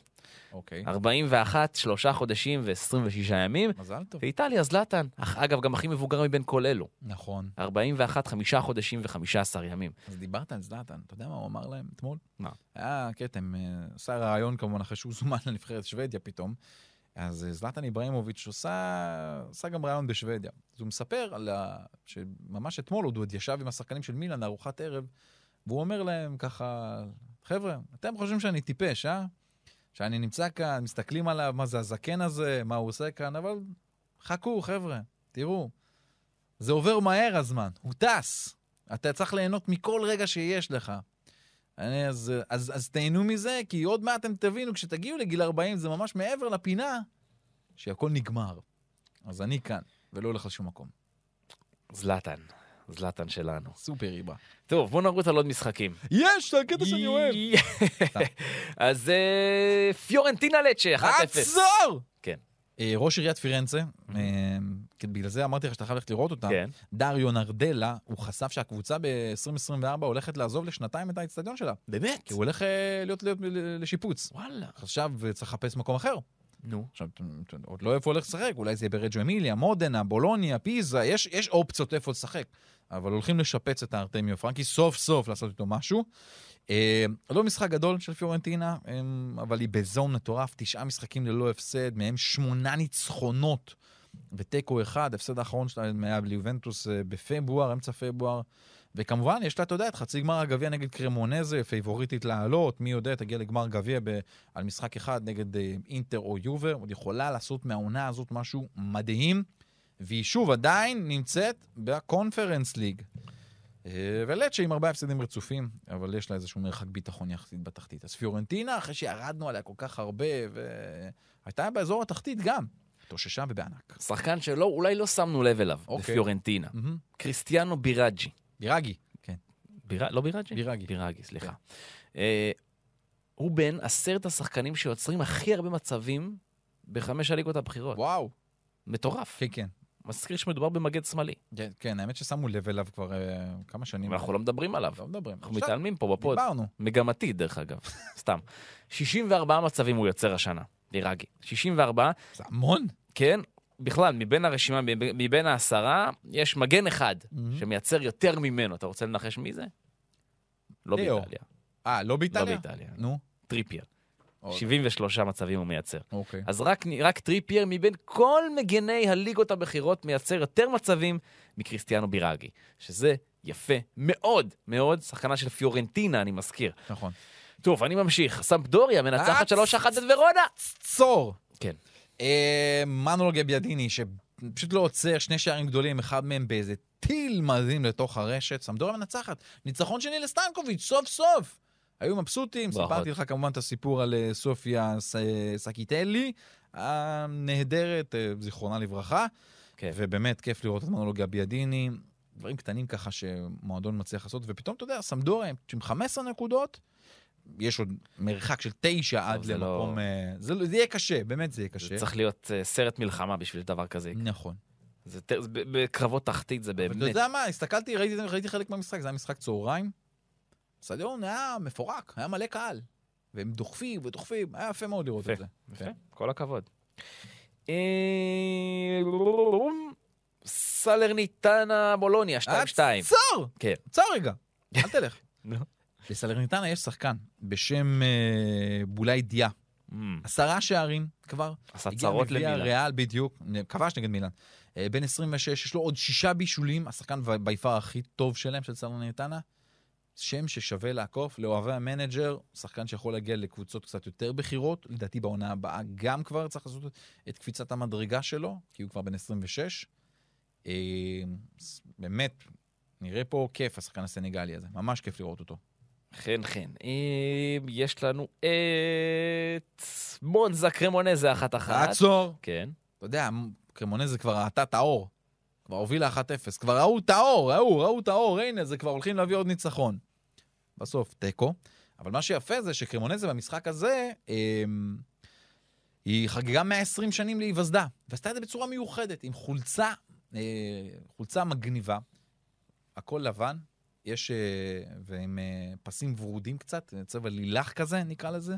[SPEAKER 4] אוקיי.
[SPEAKER 3] 41, 3 חודשים ו-26 ימים.
[SPEAKER 4] מזל טוב.
[SPEAKER 3] ואיטליה, זלאטן, אך- אגב, גם הכי מבוגר מבין כל אלו,
[SPEAKER 4] נכון.
[SPEAKER 3] 41, 5 חודשים ו-15 ימים.
[SPEAKER 4] אז דיברת על זלאטן, אתה יודע מה הוא אמר להם אתמול?
[SPEAKER 3] מה?
[SPEAKER 4] היה קטע, הם, אה, עשה רעיון כמובן אחרי שהוא זומן לנבחרת שוודיה פתאום. אז אה, זלאטן איבראימוביץ' עושה, עשה גם רעיון בשוודיה. אז הוא מספר על ה... שממש אתמול עוד הוא עוד ישב עם השחקנים של מילאן לארוחת ערב, והוא אומר להם ככה, חבר'ה, אתם חושבים שאני טיפש, אה? שאני נמצא כאן, מסתכלים עליו, מה זה הזקן הזה, מה הוא עושה כאן, אבל חכו, חבר'ה, תראו. זה עובר מהר הזמן, הוא טס. אתה צריך ליהנות מכל רגע שיש לך. אני, אז, אז, אז תהנו מזה, כי עוד מעט אתם תבינו, כשתגיעו לגיל 40, זה ממש מעבר לפינה, שהכל נגמר. אז אני כאן, ולא הולך לשום מקום.
[SPEAKER 3] זלאטן, זלאטן שלנו.
[SPEAKER 4] סופר איברה.
[SPEAKER 3] טוב, בואו נרוץ על עוד משחקים.
[SPEAKER 4] יש, זה הקטע שאני אוהב.
[SPEAKER 3] אז אה, פיורנטינה לצ'ה, 1-0.
[SPEAKER 4] עצור!
[SPEAKER 3] כן.
[SPEAKER 4] אה, ראש עיריית פירנצה, אה, כי בגלל זה אמרתי לך שאתה חייב ללכת לראות אותה,
[SPEAKER 3] כן.
[SPEAKER 4] דריו נרדלה, הוא חשף שהקבוצה ב-2024 הולכת לעזוב לשנתיים את האצטדיון שלה,
[SPEAKER 3] באמת?
[SPEAKER 4] כי הוא הולך אה, להיות להיות לשיפוץ.
[SPEAKER 3] וואלה.
[SPEAKER 4] עכשיו אה, צריך לחפש מקום אחר.
[SPEAKER 3] נו.
[SPEAKER 4] עכשיו, אתה- אתה עוד לא איפה הולך לשחק, אולי זה יהיה ברג'ו אמיליה, מודנה, בולוניה, פיזה, יש, יש אופציות איפה לשחק. אבל הולכים לשפץ את הארטמיו פרנקי, סוף סוף לעשות איתו משהו. אה, לא משחק גדול של פיורנטינה, אה, אבל היא בזון מטורף, תשעה משחקים ללא הפסד, מהם שמונה ניצחונות ותיקו אחד, הפסד האחרון שלהם היה ליובנטוס אה, בפברואר, אמצע פברואר. וכמובן, יש לה, אתה יודע, את חצי גמר הגביע נגד קרמונזה, פייבוריטית לעלות, מי יודע, תגיע לגמר גביע ב- על משחק אחד נגד אה, אינטר או יובר, עוד יכולה לעשות מהעונה הזאת משהו מדהים, והיא שוב עדיין נמצאת בקונפרנס ליג. אה, ולצ'ה עם ארבעה הפסדים רצופים, אבל יש לה איזשהו מרחק ביטחון יחסית בתחתית. אז פיורנטינה, אחרי שירדנו עליה כל כך הרבה, והייתה באזור התחתית גם, התאוששה ובענק.
[SPEAKER 3] שחקן שלא, אולי לא שמנו לב אליו,
[SPEAKER 4] אוקיי.
[SPEAKER 3] בפיורנטינה.
[SPEAKER 4] מהמם.
[SPEAKER 3] קריסטיאנו ביראג'י.
[SPEAKER 4] בירגי. כן.
[SPEAKER 3] בירא- לא ביראג'י?
[SPEAKER 4] בירגי.
[SPEAKER 3] בירגי, סליחה. אה, הוא בין עשרת השחקנים שיוצרים הכי הרבה מצבים בחמש הליגות הבכירות.
[SPEAKER 4] וואו.
[SPEAKER 3] מטורף.
[SPEAKER 4] כן, כן.
[SPEAKER 3] מזכיר שמדובר במגן שמאלי,
[SPEAKER 4] כן, כן, האמת ששמו לב אליו כבר אה, כמה שנים.
[SPEAKER 3] ואנחנו לא מדברים עליו.
[SPEAKER 4] לא מדברים.
[SPEAKER 3] אנחנו מתעלמים פה בפוד.
[SPEAKER 4] דיברנו.
[SPEAKER 3] מגמתי, דרך אגב, סתם. 64 מצבים הוא יוצר השנה, בירגי. 64,
[SPEAKER 4] זה המון.
[SPEAKER 3] כן, בכלל, מבין הרשימה, מב- מבין העשרה, יש מגן אחד שמייצר יותר ממנו. אתה רוצה לנחש מי זה? לא
[SPEAKER 4] ליאו.
[SPEAKER 3] באיטליה.
[SPEAKER 4] אה, לא
[SPEAKER 3] לא
[SPEAKER 4] באיטליה?
[SPEAKER 3] באיטליה.
[SPEAKER 4] נו,
[SPEAKER 3] טריפייר.
[SPEAKER 4] אוקיי.
[SPEAKER 3] 73 מצבים הוא מייצר.
[SPEAKER 4] אוקיי.
[SPEAKER 3] אז רק, רק טריפייר מבין כל מגני הליגות הבכירות מייצר יותר מצבים מקריסטיאנו בירגי, שזה יפה מאוד מאוד, שחקנה של פיורנטינה, אני מזכיר.
[SPEAKER 4] נכון.
[SPEAKER 3] טוב, אני ממשיך. סמפדוריה מנצחת
[SPEAKER 4] אה,
[SPEAKER 3] 3-1 את ורונה.
[SPEAKER 4] צור.
[SPEAKER 3] כן.
[SPEAKER 4] אה, מנואל גביאדיני, שפשוט לא עוצר, שני שערים גדולים, אחד מהם באיזה טיל מדהים לתוך הרשת, סמדוריה מנצחת. ניצחון שני לסטנקוביץ', סוף סוף! היו מבסוטים,
[SPEAKER 3] ברכות.
[SPEAKER 4] סיפרתי לך כמובן את הסיפור על אה, סופיה ס- אה, סקיטלי, הנהדרת, אה, זיכרונה לברכה.
[SPEAKER 3] כן.
[SPEAKER 4] ובאמת, כיף לראות את מנולוגיה ביאדיני, דברים קטנים ככה שמועדון מצליח לעשות, ופתאום, אתה יודע, סמדוריה עם 15 נקודות, יש עוד מרחק של 9 עד
[SPEAKER 3] זה
[SPEAKER 4] למקום...
[SPEAKER 3] לא-
[SPEAKER 4] אה, זה לא- זה יהיה קשה, באמת זה יהיה קשה.
[SPEAKER 3] זה צריך להיות אה, סרט מלחמה בשביל דבר כזה.
[SPEAKER 4] נכון.
[SPEAKER 3] זה ת- זה ב- בקרבות תחתית זה
[SPEAKER 4] אבל אתה
[SPEAKER 3] באמת.
[SPEAKER 4] יודע מה, הסתכלתי, ראיתי ראיתי חלק מהמשחק, זה היה משחק צהריים. הסטדיון היה מפורק, היה מלא קהל. והם דוחפים ודוחפים, היה יפה מאוד לראות
[SPEAKER 3] יפה.
[SPEAKER 4] את זה.
[SPEAKER 3] יפה, כל הכבוד. אה, סלרניטנה בולוניה 2-2.
[SPEAKER 4] עצור!
[SPEAKER 3] כן.
[SPEAKER 4] עצור רגע, אל תלך.
[SPEAKER 3] נו.
[SPEAKER 4] לסלרניטנה יש שחקן בשם אה, בולאי דיה.
[SPEAKER 3] אמ,
[SPEAKER 4] עשרה שערים כבר.
[SPEAKER 3] עשה
[SPEAKER 4] הגיע
[SPEAKER 3] צרות
[SPEAKER 4] מגביע
[SPEAKER 3] למילן.
[SPEAKER 4] ריאל, בדיוק. כבש נגד מילאן. אה, בן 26, יש לו עוד שישה בישולים, השחקן ביפר הכי טוב שלהם, של סלרניטנה. שם ששווה לעקוף, לאוהבי המנג'ר, שחקן שיכול להגיע לקבוצות קצת יותר בכירות, לדעתי בעונה הבאה גם כבר צריך לעשות את קפיצת המדרגה שלו, כי הוא כבר בן 26. אה, ס- באמת, נראה פה כיף, השחקן הסנגלי הזה, ממש כיף לראות אותו.
[SPEAKER 3] חן חן. אה, כן, יש לנו את מונזה קרמונזה אחת אחת.
[SPEAKER 4] עצור!
[SPEAKER 3] כן.
[SPEAKER 4] אתה יודע, קרמונה זה כבר ראתה את האור. כבר הובילה 1-0, כבר ראו את האור, ראו, ראו את האור, הנה, זה כבר הולכים להביא עוד ניצחון. בסוף, תיקו. אבל מה שיפה זה שקרמונזה במשחק הזה, אמ, היא חגגה 120 שנים להיווסדה, ועשתה את זה בצורה מיוחדת, עם חולצה, אה, חולצה מגניבה, הכל לבן, יש, אה, ועם אה, פסים ורודים קצת, צבע לילך כזה, נקרא לזה.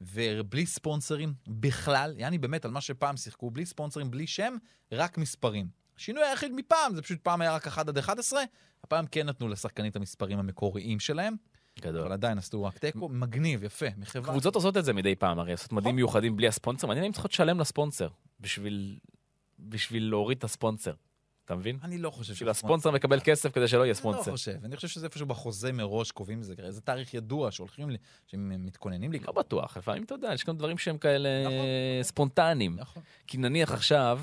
[SPEAKER 4] ובלי ספונסרים בכלל, יעני באמת על מה שפעם שיחקו, בלי ספונסרים, בלי שם, רק מספרים. השינוי היחיד מפעם, זה פשוט פעם היה רק 1 עד 11, הפעם כן נתנו לשחקנים את המספרים המקוריים שלהם, אבל
[SPEAKER 3] גדול.
[SPEAKER 4] עדיין עשו רק תיקו, מגניב, יפה, מחברה.
[SPEAKER 3] קבוצות עושות את זה מדי פעם, הרי עושות מדים מיוחדים בלי הספונסר, מעניין אם צריכות לשלם לספונסר בשביל בשביל להוריד את הספונסר. אתה מבין?
[SPEAKER 4] אני לא חושב
[SPEAKER 3] בשביל הספונסר מקבל כסף כדי שלא יהיה ספונסר.
[SPEAKER 4] אני לא חושב, אני חושב שזה איפשהו בחוזה מראש קובעים את זה, הרי זה תאריך ידוע שהולכים, ל- שהם מתכוננים לי.
[SPEAKER 3] לא בטוח, לפעמים אתה יודע, יש גם דברים שהם כאלה
[SPEAKER 4] נכון.
[SPEAKER 3] ספונטניים.
[SPEAKER 4] נכון.
[SPEAKER 3] כי נניח עכשיו,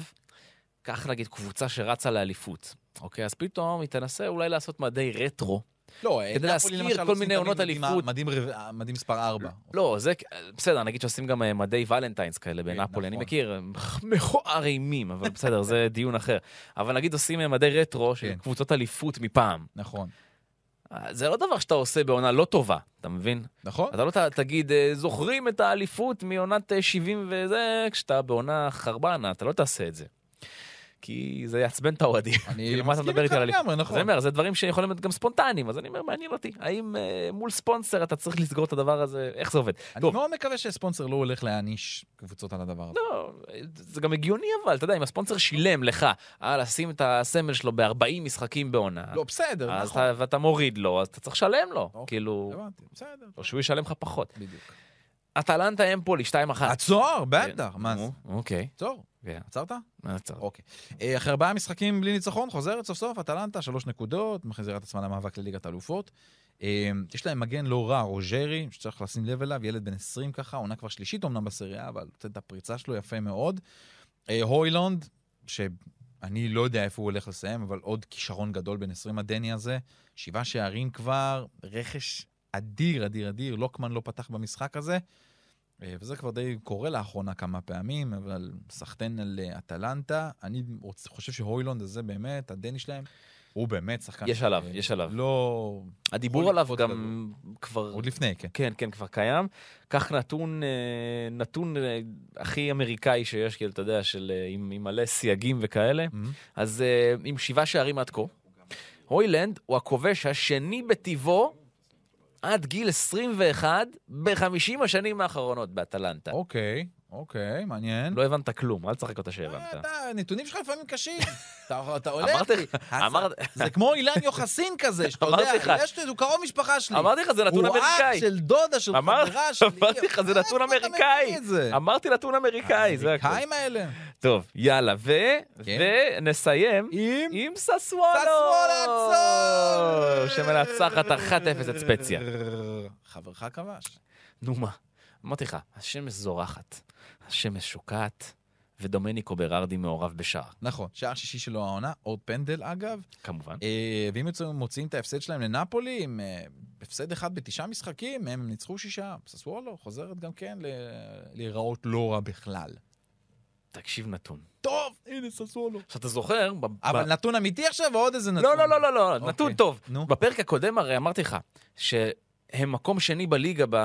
[SPEAKER 3] קח נגיד קבוצה שרצה לאליפות, אוקיי? אז פתאום היא תנסה אולי לעשות מדי רטרו.
[SPEAKER 4] לא,
[SPEAKER 3] כדי
[SPEAKER 4] נפולי
[SPEAKER 3] להזכיר
[SPEAKER 4] למשל
[SPEAKER 3] כל
[SPEAKER 4] עושים
[SPEAKER 3] מיני
[SPEAKER 4] תמיד
[SPEAKER 3] עונות
[SPEAKER 4] מדים-
[SPEAKER 3] אליפות.
[SPEAKER 4] מדים רב- מדים מספר 4.
[SPEAKER 3] לא, זה, בסדר, נגיד שעושים גם אה, מדי ולנטיינס כאלה בנפולי, אני
[SPEAKER 4] נכון.
[SPEAKER 3] מכיר, הם מכוער אימים, אבל בסדר, זה דיון אחר. אבל נגיד עושים אה, מדי רטרו של
[SPEAKER 4] כן.
[SPEAKER 3] קבוצות אליפות מפעם.
[SPEAKER 4] נכון.
[SPEAKER 3] אה, זה לא דבר שאתה עושה בעונה לא טובה, אתה מבין?
[SPEAKER 4] נכון?
[SPEAKER 3] אתה לא ת- תגיד, אה, זוכרים את האליפות מעונת אה, 70 וזה, כשאתה בעונה חרבנה, אתה לא תעשה את זה. כי זה יעצבן את האוהדים.
[SPEAKER 4] אני
[SPEAKER 3] כאילו, מה אתה
[SPEAKER 4] מסכים
[SPEAKER 3] מדבר
[SPEAKER 4] איתך
[SPEAKER 3] איתי על אליפות?
[SPEAKER 4] לגמרי,
[SPEAKER 3] אז אני
[SPEAKER 4] נכון.
[SPEAKER 3] אומר, זה דברים שיכולים להיות גם ספונטניים, אז אני אומר, מעניין אותי, האם אה, מול ספונסר אתה צריך לסגור את הדבר הזה, איך זה עובד?
[SPEAKER 4] אני
[SPEAKER 3] טוב.
[SPEAKER 4] מאוד מקווה שספונסר לא הולך להעניש קבוצות על הדבר הזה.
[SPEAKER 3] לא, זה גם הגיוני אבל, אתה יודע, אם הספונסר שילם לך על לשים את הסמל שלו ב-40 משחקים בעונה,
[SPEAKER 4] לא, בסדר,
[SPEAKER 3] אז
[SPEAKER 4] נכון.
[SPEAKER 3] אתה- ואתה מוריד לו, אז אתה צריך לשלם לו,
[SPEAKER 4] אוקיי,
[SPEAKER 3] כאילו,
[SPEAKER 4] הבנתי, בסדר.
[SPEAKER 3] או שהוא ישלם לך פחות.
[SPEAKER 4] בדיוק.
[SPEAKER 3] אטלנטה אמפולי, 2-1.
[SPEAKER 4] עצור, בטח, מה זה?
[SPEAKER 3] אה. כן. נו, אוקיי.
[SPEAKER 4] עצור,
[SPEAKER 3] כן.
[SPEAKER 4] עצרת?
[SPEAKER 3] מה עצר?
[SPEAKER 4] אוקיי. אה, אחרי ארבעה משחקים בלי ניצחון, חוזרת סוף סוף, אטלנטה, שלוש נקודות, מחזירה את עצמה למאבק לליגת אלופות. אה, יש להם מגן לא רע, רוג'רי, שצריך לשים לב אליו, ילד בן 20 ככה, עונה כבר שלישית אמנם בסריה, אבל נותן את הפריצה שלו יפה מאוד. אה, הוילונד, שאני לא יודע איפה הוא הולך לסיים, אבל עוד כישרון גדול בן 20 הדני הזה. שבעה שערים כבר, רכש אדיר, אדיר, אדיר, לוקמן לא פתח במשחק הזה. אה, וזה כבר די קורה לאחרונה כמה פעמים, אבל סחטיין על אה, אטלנטה. אני רוצ- חושב שהוילונד הזה באמת, הדני שלהם, הוא באמת שחקן...
[SPEAKER 3] יש עליו,
[SPEAKER 4] אה,
[SPEAKER 3] יש עליו.
[SPEAKER 4] לא...
[SPEAKER 3] הדיבור
[SPEAKER 4] יכול
[SPEAKER 3] עליו
[SPEAKER 4] לקפוץ
[SPEAKER 3] גם כבר...
[SPEAKER 4] עוד לפני, כן.
[SPEAKER 3] כן, כן, כבר קיים. קח נתון, אה, נתון אה, הכי אמריקאי שיש, כאילו, אתה יודע, של אה, עם עם מלא סייגים וכאלה.
[SPEAKER 4] Mhm.
[SPEAKER 3] אז אה, עם שבעה שערים עד כה, הוילנד הוא הכובש השני בטיבו עד גיל 21 ב-50 השנים האחרונות באטלנטה.
[SPEAKER 4] אוקיי, אוקיי, מעניין.
[SPEAKER 3] לא הבנת כלום, אל תשחק אותה
[SPEAKER 4] אה,
[SPEAKER 3] שהבנת.
[SPEAKER 4] אתה, הנתונים שלך לפעמים קשים. אתה אתה הולך...
[SPEAKER 3] אמרתי לך,
[SPEAKER 4] הצ-
[SPEAKER 3] אמרתי-
[SPEAKER 4] זה כמו אילן יוחסין כזה, שאתה יודע,
[SPEAKER 3] אמרתי לך.
[SPEAKER 4] יש לי, הוא קרוב משפחה שלי.
[SPEAKER 3] אמרתי לך, זה נתון
[SPEAKER 4] הוא
[SPEAKER 3] אמריקאי.
[SPEAKER 4] אח של דודה, של
[SPEAKER 3] אמר-
[SPEAKER 4] חברה שלי.
[SPEAKER 3] אמרתי לך, זה
[SPEAKER 4] איפה
[SPEAKER 3] נתון
[SPEAKER 4] אתה מביא
[SPEAKER 3] אמריקאי.
[SPEAKER 4] את זה?
[SPEAKER 3] אמרתי נתון אמריקאי, זה הכול.
[SPEAKER 4] האמריקאים האלה.
[SPEAKER 3] טוב, יאללה, ו...
[SPEAKER 4] כן.
[SPEAKER 3] ונסיים
[SPEAKER 4] עם?
[SPEAKER 3] עם ססוולו!
[SPEAKER 4] ססוולו עצור!
[SPEAKER 3] שמנצחת 1-0 את ספציה.
[SPEAKER 4] חברך כבש.
[SPEAKER 3] נו מה, אמרתי לך, השמש זורחת, השמש שוקעת, ודומניקו בררדי מעורב בשער,
[SPEAKER 4] נכון, שער שישי שלו העונה, עוד פנדל אגב.
[SPEAKER 3] כמובן.
[SPEAKER 4] אה, ואם יוצא- מוציאים את ההפסד שלהם לנפולי, עם אה, הפסד אחד בתשעה משחקים, מהם הם ניצחו שישה, ססוולו חוזרת גם כן ל- להיראות לא רע בכלל.
[SPEAKER 3] תקשיב נתון.
[SPEAKER 4] טוב, הנה ססוולו.
[SPEAKER 3] עכשיו, אתה זוכר, ב- ב-
[SPEAKER 4] אבל נתון אמיתי עכשיו או עוד איזה
[SPEAKER 3] לא,
[SPEAKER 4] נתון?
[SPEAKER 3] לא, לא, לא, לא,
[SPEAKER 4] אוקיי.
[SPEAKER 3] נתון טוב.
[SPEAKER 4] נו.
[SPEAKER 3] בפרק הקודם הרי אמרתי לך שהם מקום שני בליגה ב...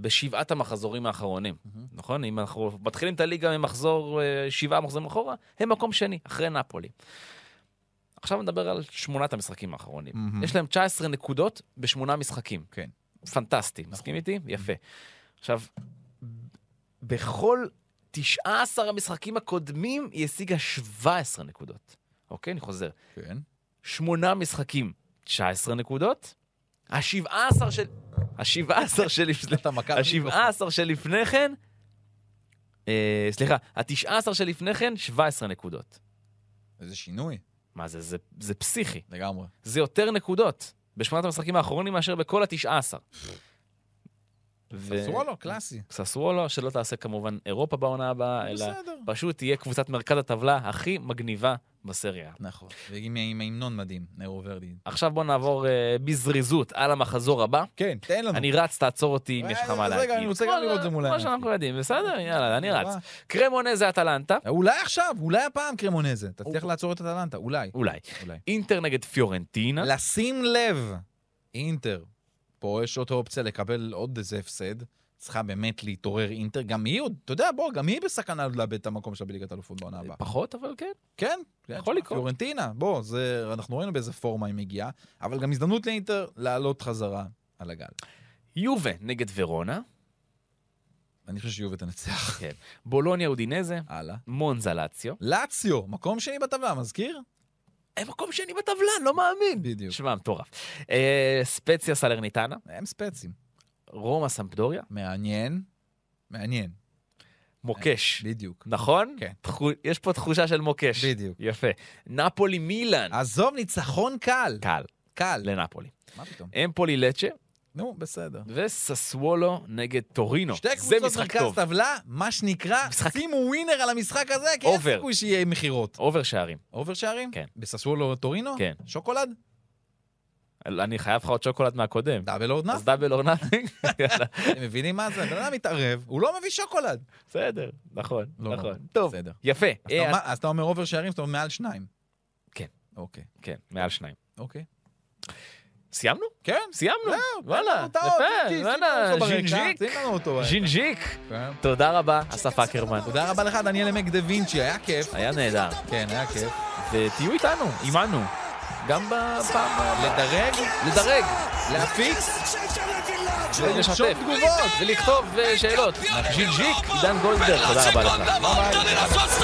[SPEAKER 3] בשבעת המחזורים האחרונים, נכון? אם אנחנו מתחילים את הליגה ממחזור, אה, שבעה מחזורים אחורה, הם מקום שני, אחרי נפולי. עכשיו נדבר על שמונת המשחקים האחרונים.
[SPEAKER 4] מהמם.
[SPEAKER 3] יש להם 19 נקודות בשמונה משחקים.
[SPEAKER 4] כן.
[SPEAKER 3] פנטסטי, מסכים איתי? יפה. עכשיו, בכל 19 המשחקים הקודמים היא השיגה 17 נקודות. אוקיי? אני חוזר.
[SPEAKER 4] כן.
[SPEAKER 3] שמונה משחקים, 19 נקודות. ה-17 של... ה-17 שלפני...
[SPEAKER 4] אתה מכה
[SPEAKER 3] ה-17 שלפני כן... אה, סליחה, ה-19 שלפני כן, 17 נקודות.
[SPEAKER 4] איזה שינוי,
[SPEAKER 3] מה זה, זה, זה פסיכי.
[SPEAKER 4] לגמרי.
[SPEAKER 3] זה יותר נקודות בשמונת המשחקים האחרונים מאשר בכל ה-19. ו-
[SPEAKER 4] ססוולו, קלאסי.
[SPEAKER 3] ססוולו, שלא תעשה כמובן אירופה בעונה הבאה, אה, אלא
[SPEAKER 4] בסדר.
[SPEAKER 3] פשוט תהיה קבוצת מרכז הטבלה הכי מגניבה בסריה.
[SPEAKER 4] נכון. ועם עם ההמנון מדהים, נרו ורדי.
[SPEAKER 3] עכשיו בוא נעבור אה, בזריזות על המחזור הבא.
[SPEAKER 4] כן, תן לנו.
[SPEAKER 3] אני רץ, תעצור אותי אם
[SPEAKER 4] אה,
[SPEAKER 3] יש לך
[SPEAKER 4] אז
[SPEAKER 3] מה
[SPEAKER 4] רגע,
[SPEAKER 3] להגיד.
[SPEAKER 4] אני רוצה גם
[SPEAKER 3] כמו-
[SPEAKER 4] לראות את זה מול העיניים
[SPEAKER 3] כמו
[SPEAKER 4] אה,
[SPEAKER 3] שאנחנו יודעים, בסדר, יאללה, אני רץ. קרמונה זה אטלנטה,
[SPEAKER 4] אולי עכשיו, אולי הפעם קרמונזה. תצליח לעצור את אטלנטה, אולי.
[SPEAKER 3] אוקיי. אולי.
[SPEAKER 4] אולי.
[SPEAKER 3] אינטר נגד פיורנטינה.
[SPEAKER 4] לשים לב, אינטר, פה יש עוד אופציה לקבל עוד איזה הפסד. צריכה באמת להתעורר אינטר, גם היא עוד, אתה יודע, בוא, גם היא בסכנה עוד לאבד את המקום שלה בליגת אלופות בעונה הבאה.
[SPEAKER 3] פחות, אבל כן.
[SPEAKER 4] כן,
[SPEAKER 3] יכול
[SPEAKER 4] תשמע,
[SPEAKER 3] לקרות.
[SPEAKER 4] פיורנטינה, בוא, זה, אנחנו ראינו באיזה פורמה היא מגיעה, אבל גם הזדמנות לאינטר לעלות חזרה על הגל.
[SPEAKER 3] יובה נגד ורונה.
[SPEAKER 4] אני חושב שיובל תנצח.
[SPEAKER 3] כן. בולוניה אודינזה.
[SPEAKER 4] הלאה.
[SPEAKER 3] מונזה לאציו.
[SPEAKER 4] לאציו, מקום שני בטבלה, מזכיר?
[SPEAKER 3] הם מקום שני בטבלה, לא מאמין.
[SPEAKER 4] בדיוק.
[SPEAKER 3] שמע, מטורף. אה, ספציה סלרניטנה.
[SPEAKER 4] הם ספצים.
[SPEAKER 3] רומא סמפדוריה.
[SPEAKER 4] מעניין. מעניין,
[SPEAKER 3] מוקש.
[SPEAKER 4] אה, בדיוק.
[SPEAKER 3] נכון?
[SPEAKER 4] כן.
[SPEAKER 3] תחו- יש פה תחושה של מוקש.
[SPEAKER 4] בדיוק.
[SPEAKER 3] יפה. נפולי מילאן.
[SPEAKER 4] עזוב, ניצחון קל.
[SPEAKER 3] קל.
[SPEAKER 4] קל.
[SPEAKER 3] לנפולי.
[SPEAKER 4] מה פתאום?
[SPEAKER 3] אמפולי לצ'ה.
[SPEAKER 4] נו, בסדר.
[SPEAKER 3] וססוולו נגד טורינו.
[SPEAKER 4] שתי
[SPEAKER 3] לא, זה
[SPEAKER 4] קבוצות
[SPEAKER 3] משחק
[SPEAKER 4] מרכז
[SPEAKER 3] טוב.
[SPEAKER 4] טבלה, מה שנקרא,
[SPEAKER 3] משחק-
[SPEAKER 4] שימו ווינר על המשחק הזה, כי אין
[SPEAKER 3] אובר.
[SPEAKER 4] סיכוי שיהיה מכירות.
[SPEAKER 3] אובר שערים.
[SPEAKER 4] אובר שערים?
[SPEAKER 3] כן.
[SPEAKER 4] בססוולו טורינו?
[SPEAKER 3] כן.
[SPEAKER 4] שוקולד?
[SPEAKER 3] אני חייב לך עוד שוקולד מהקודם.
[SPEAKER 4] דאבל אורנף?
[SPEAKER 3] אז דאבל אור נאטינג. יאללה.
[SPEAKER 4] אתם מבינים מה זה? בן אדם מתערב, הוא לא מביא שוקולד.
[SPEAKER 3] בסדר, נכון,
[SPEAKER 4] לא,
[SPEAKER 3] נכון.
[SPEAKER 4] לא,
[SPEAKER 3] טוב,
[SPEAKER 4] בסדר.
[SPEAKER 3] יפה. אה,
[SPEAKER 4] אז אתה אומר- אז אתה אומר אובר שערים, זאת אומרת מעל שניים.
[SPEAKER 3] כן.
[SPEAKER 4] אוקיי,
[SPEAKER 3] כן, מעל שניים.
[SPEAKER 4] אוקיי.
[SPEAKER 3] סיימנו?
[SPEAKER 4] כן,
[SPEAKER 3] סיימנו. וואלה,
[SPEAKER 4] תן לנו את האות,
[SPEAKER 3] יפה,
[SPEAKER 4] זינג'י,
[SPEAKER 3] וואלה,
[SPEAKER 4] שים לנו אותו ברקע,
[SPEAKER 3] ז'ינג'יק.
[SPEAKER 4] שים לנו אותו ברקע.
[SPEAKER 3] ז'ינג'יק.
[SPEAKER 4] כן.
[SPEAKER 3] תודה רבה, אסף אקרמן.
[SPEAKER 4] תודה רבה לך, דניאל עמק דה וינצ'י, היה כיף.
[SPEAKER 3] היה נהדר.
[SPEAKER 4] כן, היה כיף.
[SPEAKER 3] ותהיו איתנו, עמנו. גם בפעם...
[SPEAKER 4] לדרג,
[SPEAKER 3] לדרג,
[SPEAKER 4] להפיץ,
[SPEAKER 3] לשתף,
[SPEAKER 4] תגובות.
[SPEAKER 3] אה, ולכתוב אה, שאלות. ז'ינג'יק, עידן גולדברג, תודה רבה לך.
[SPEAKER 2] Seconda volta nella sua storia.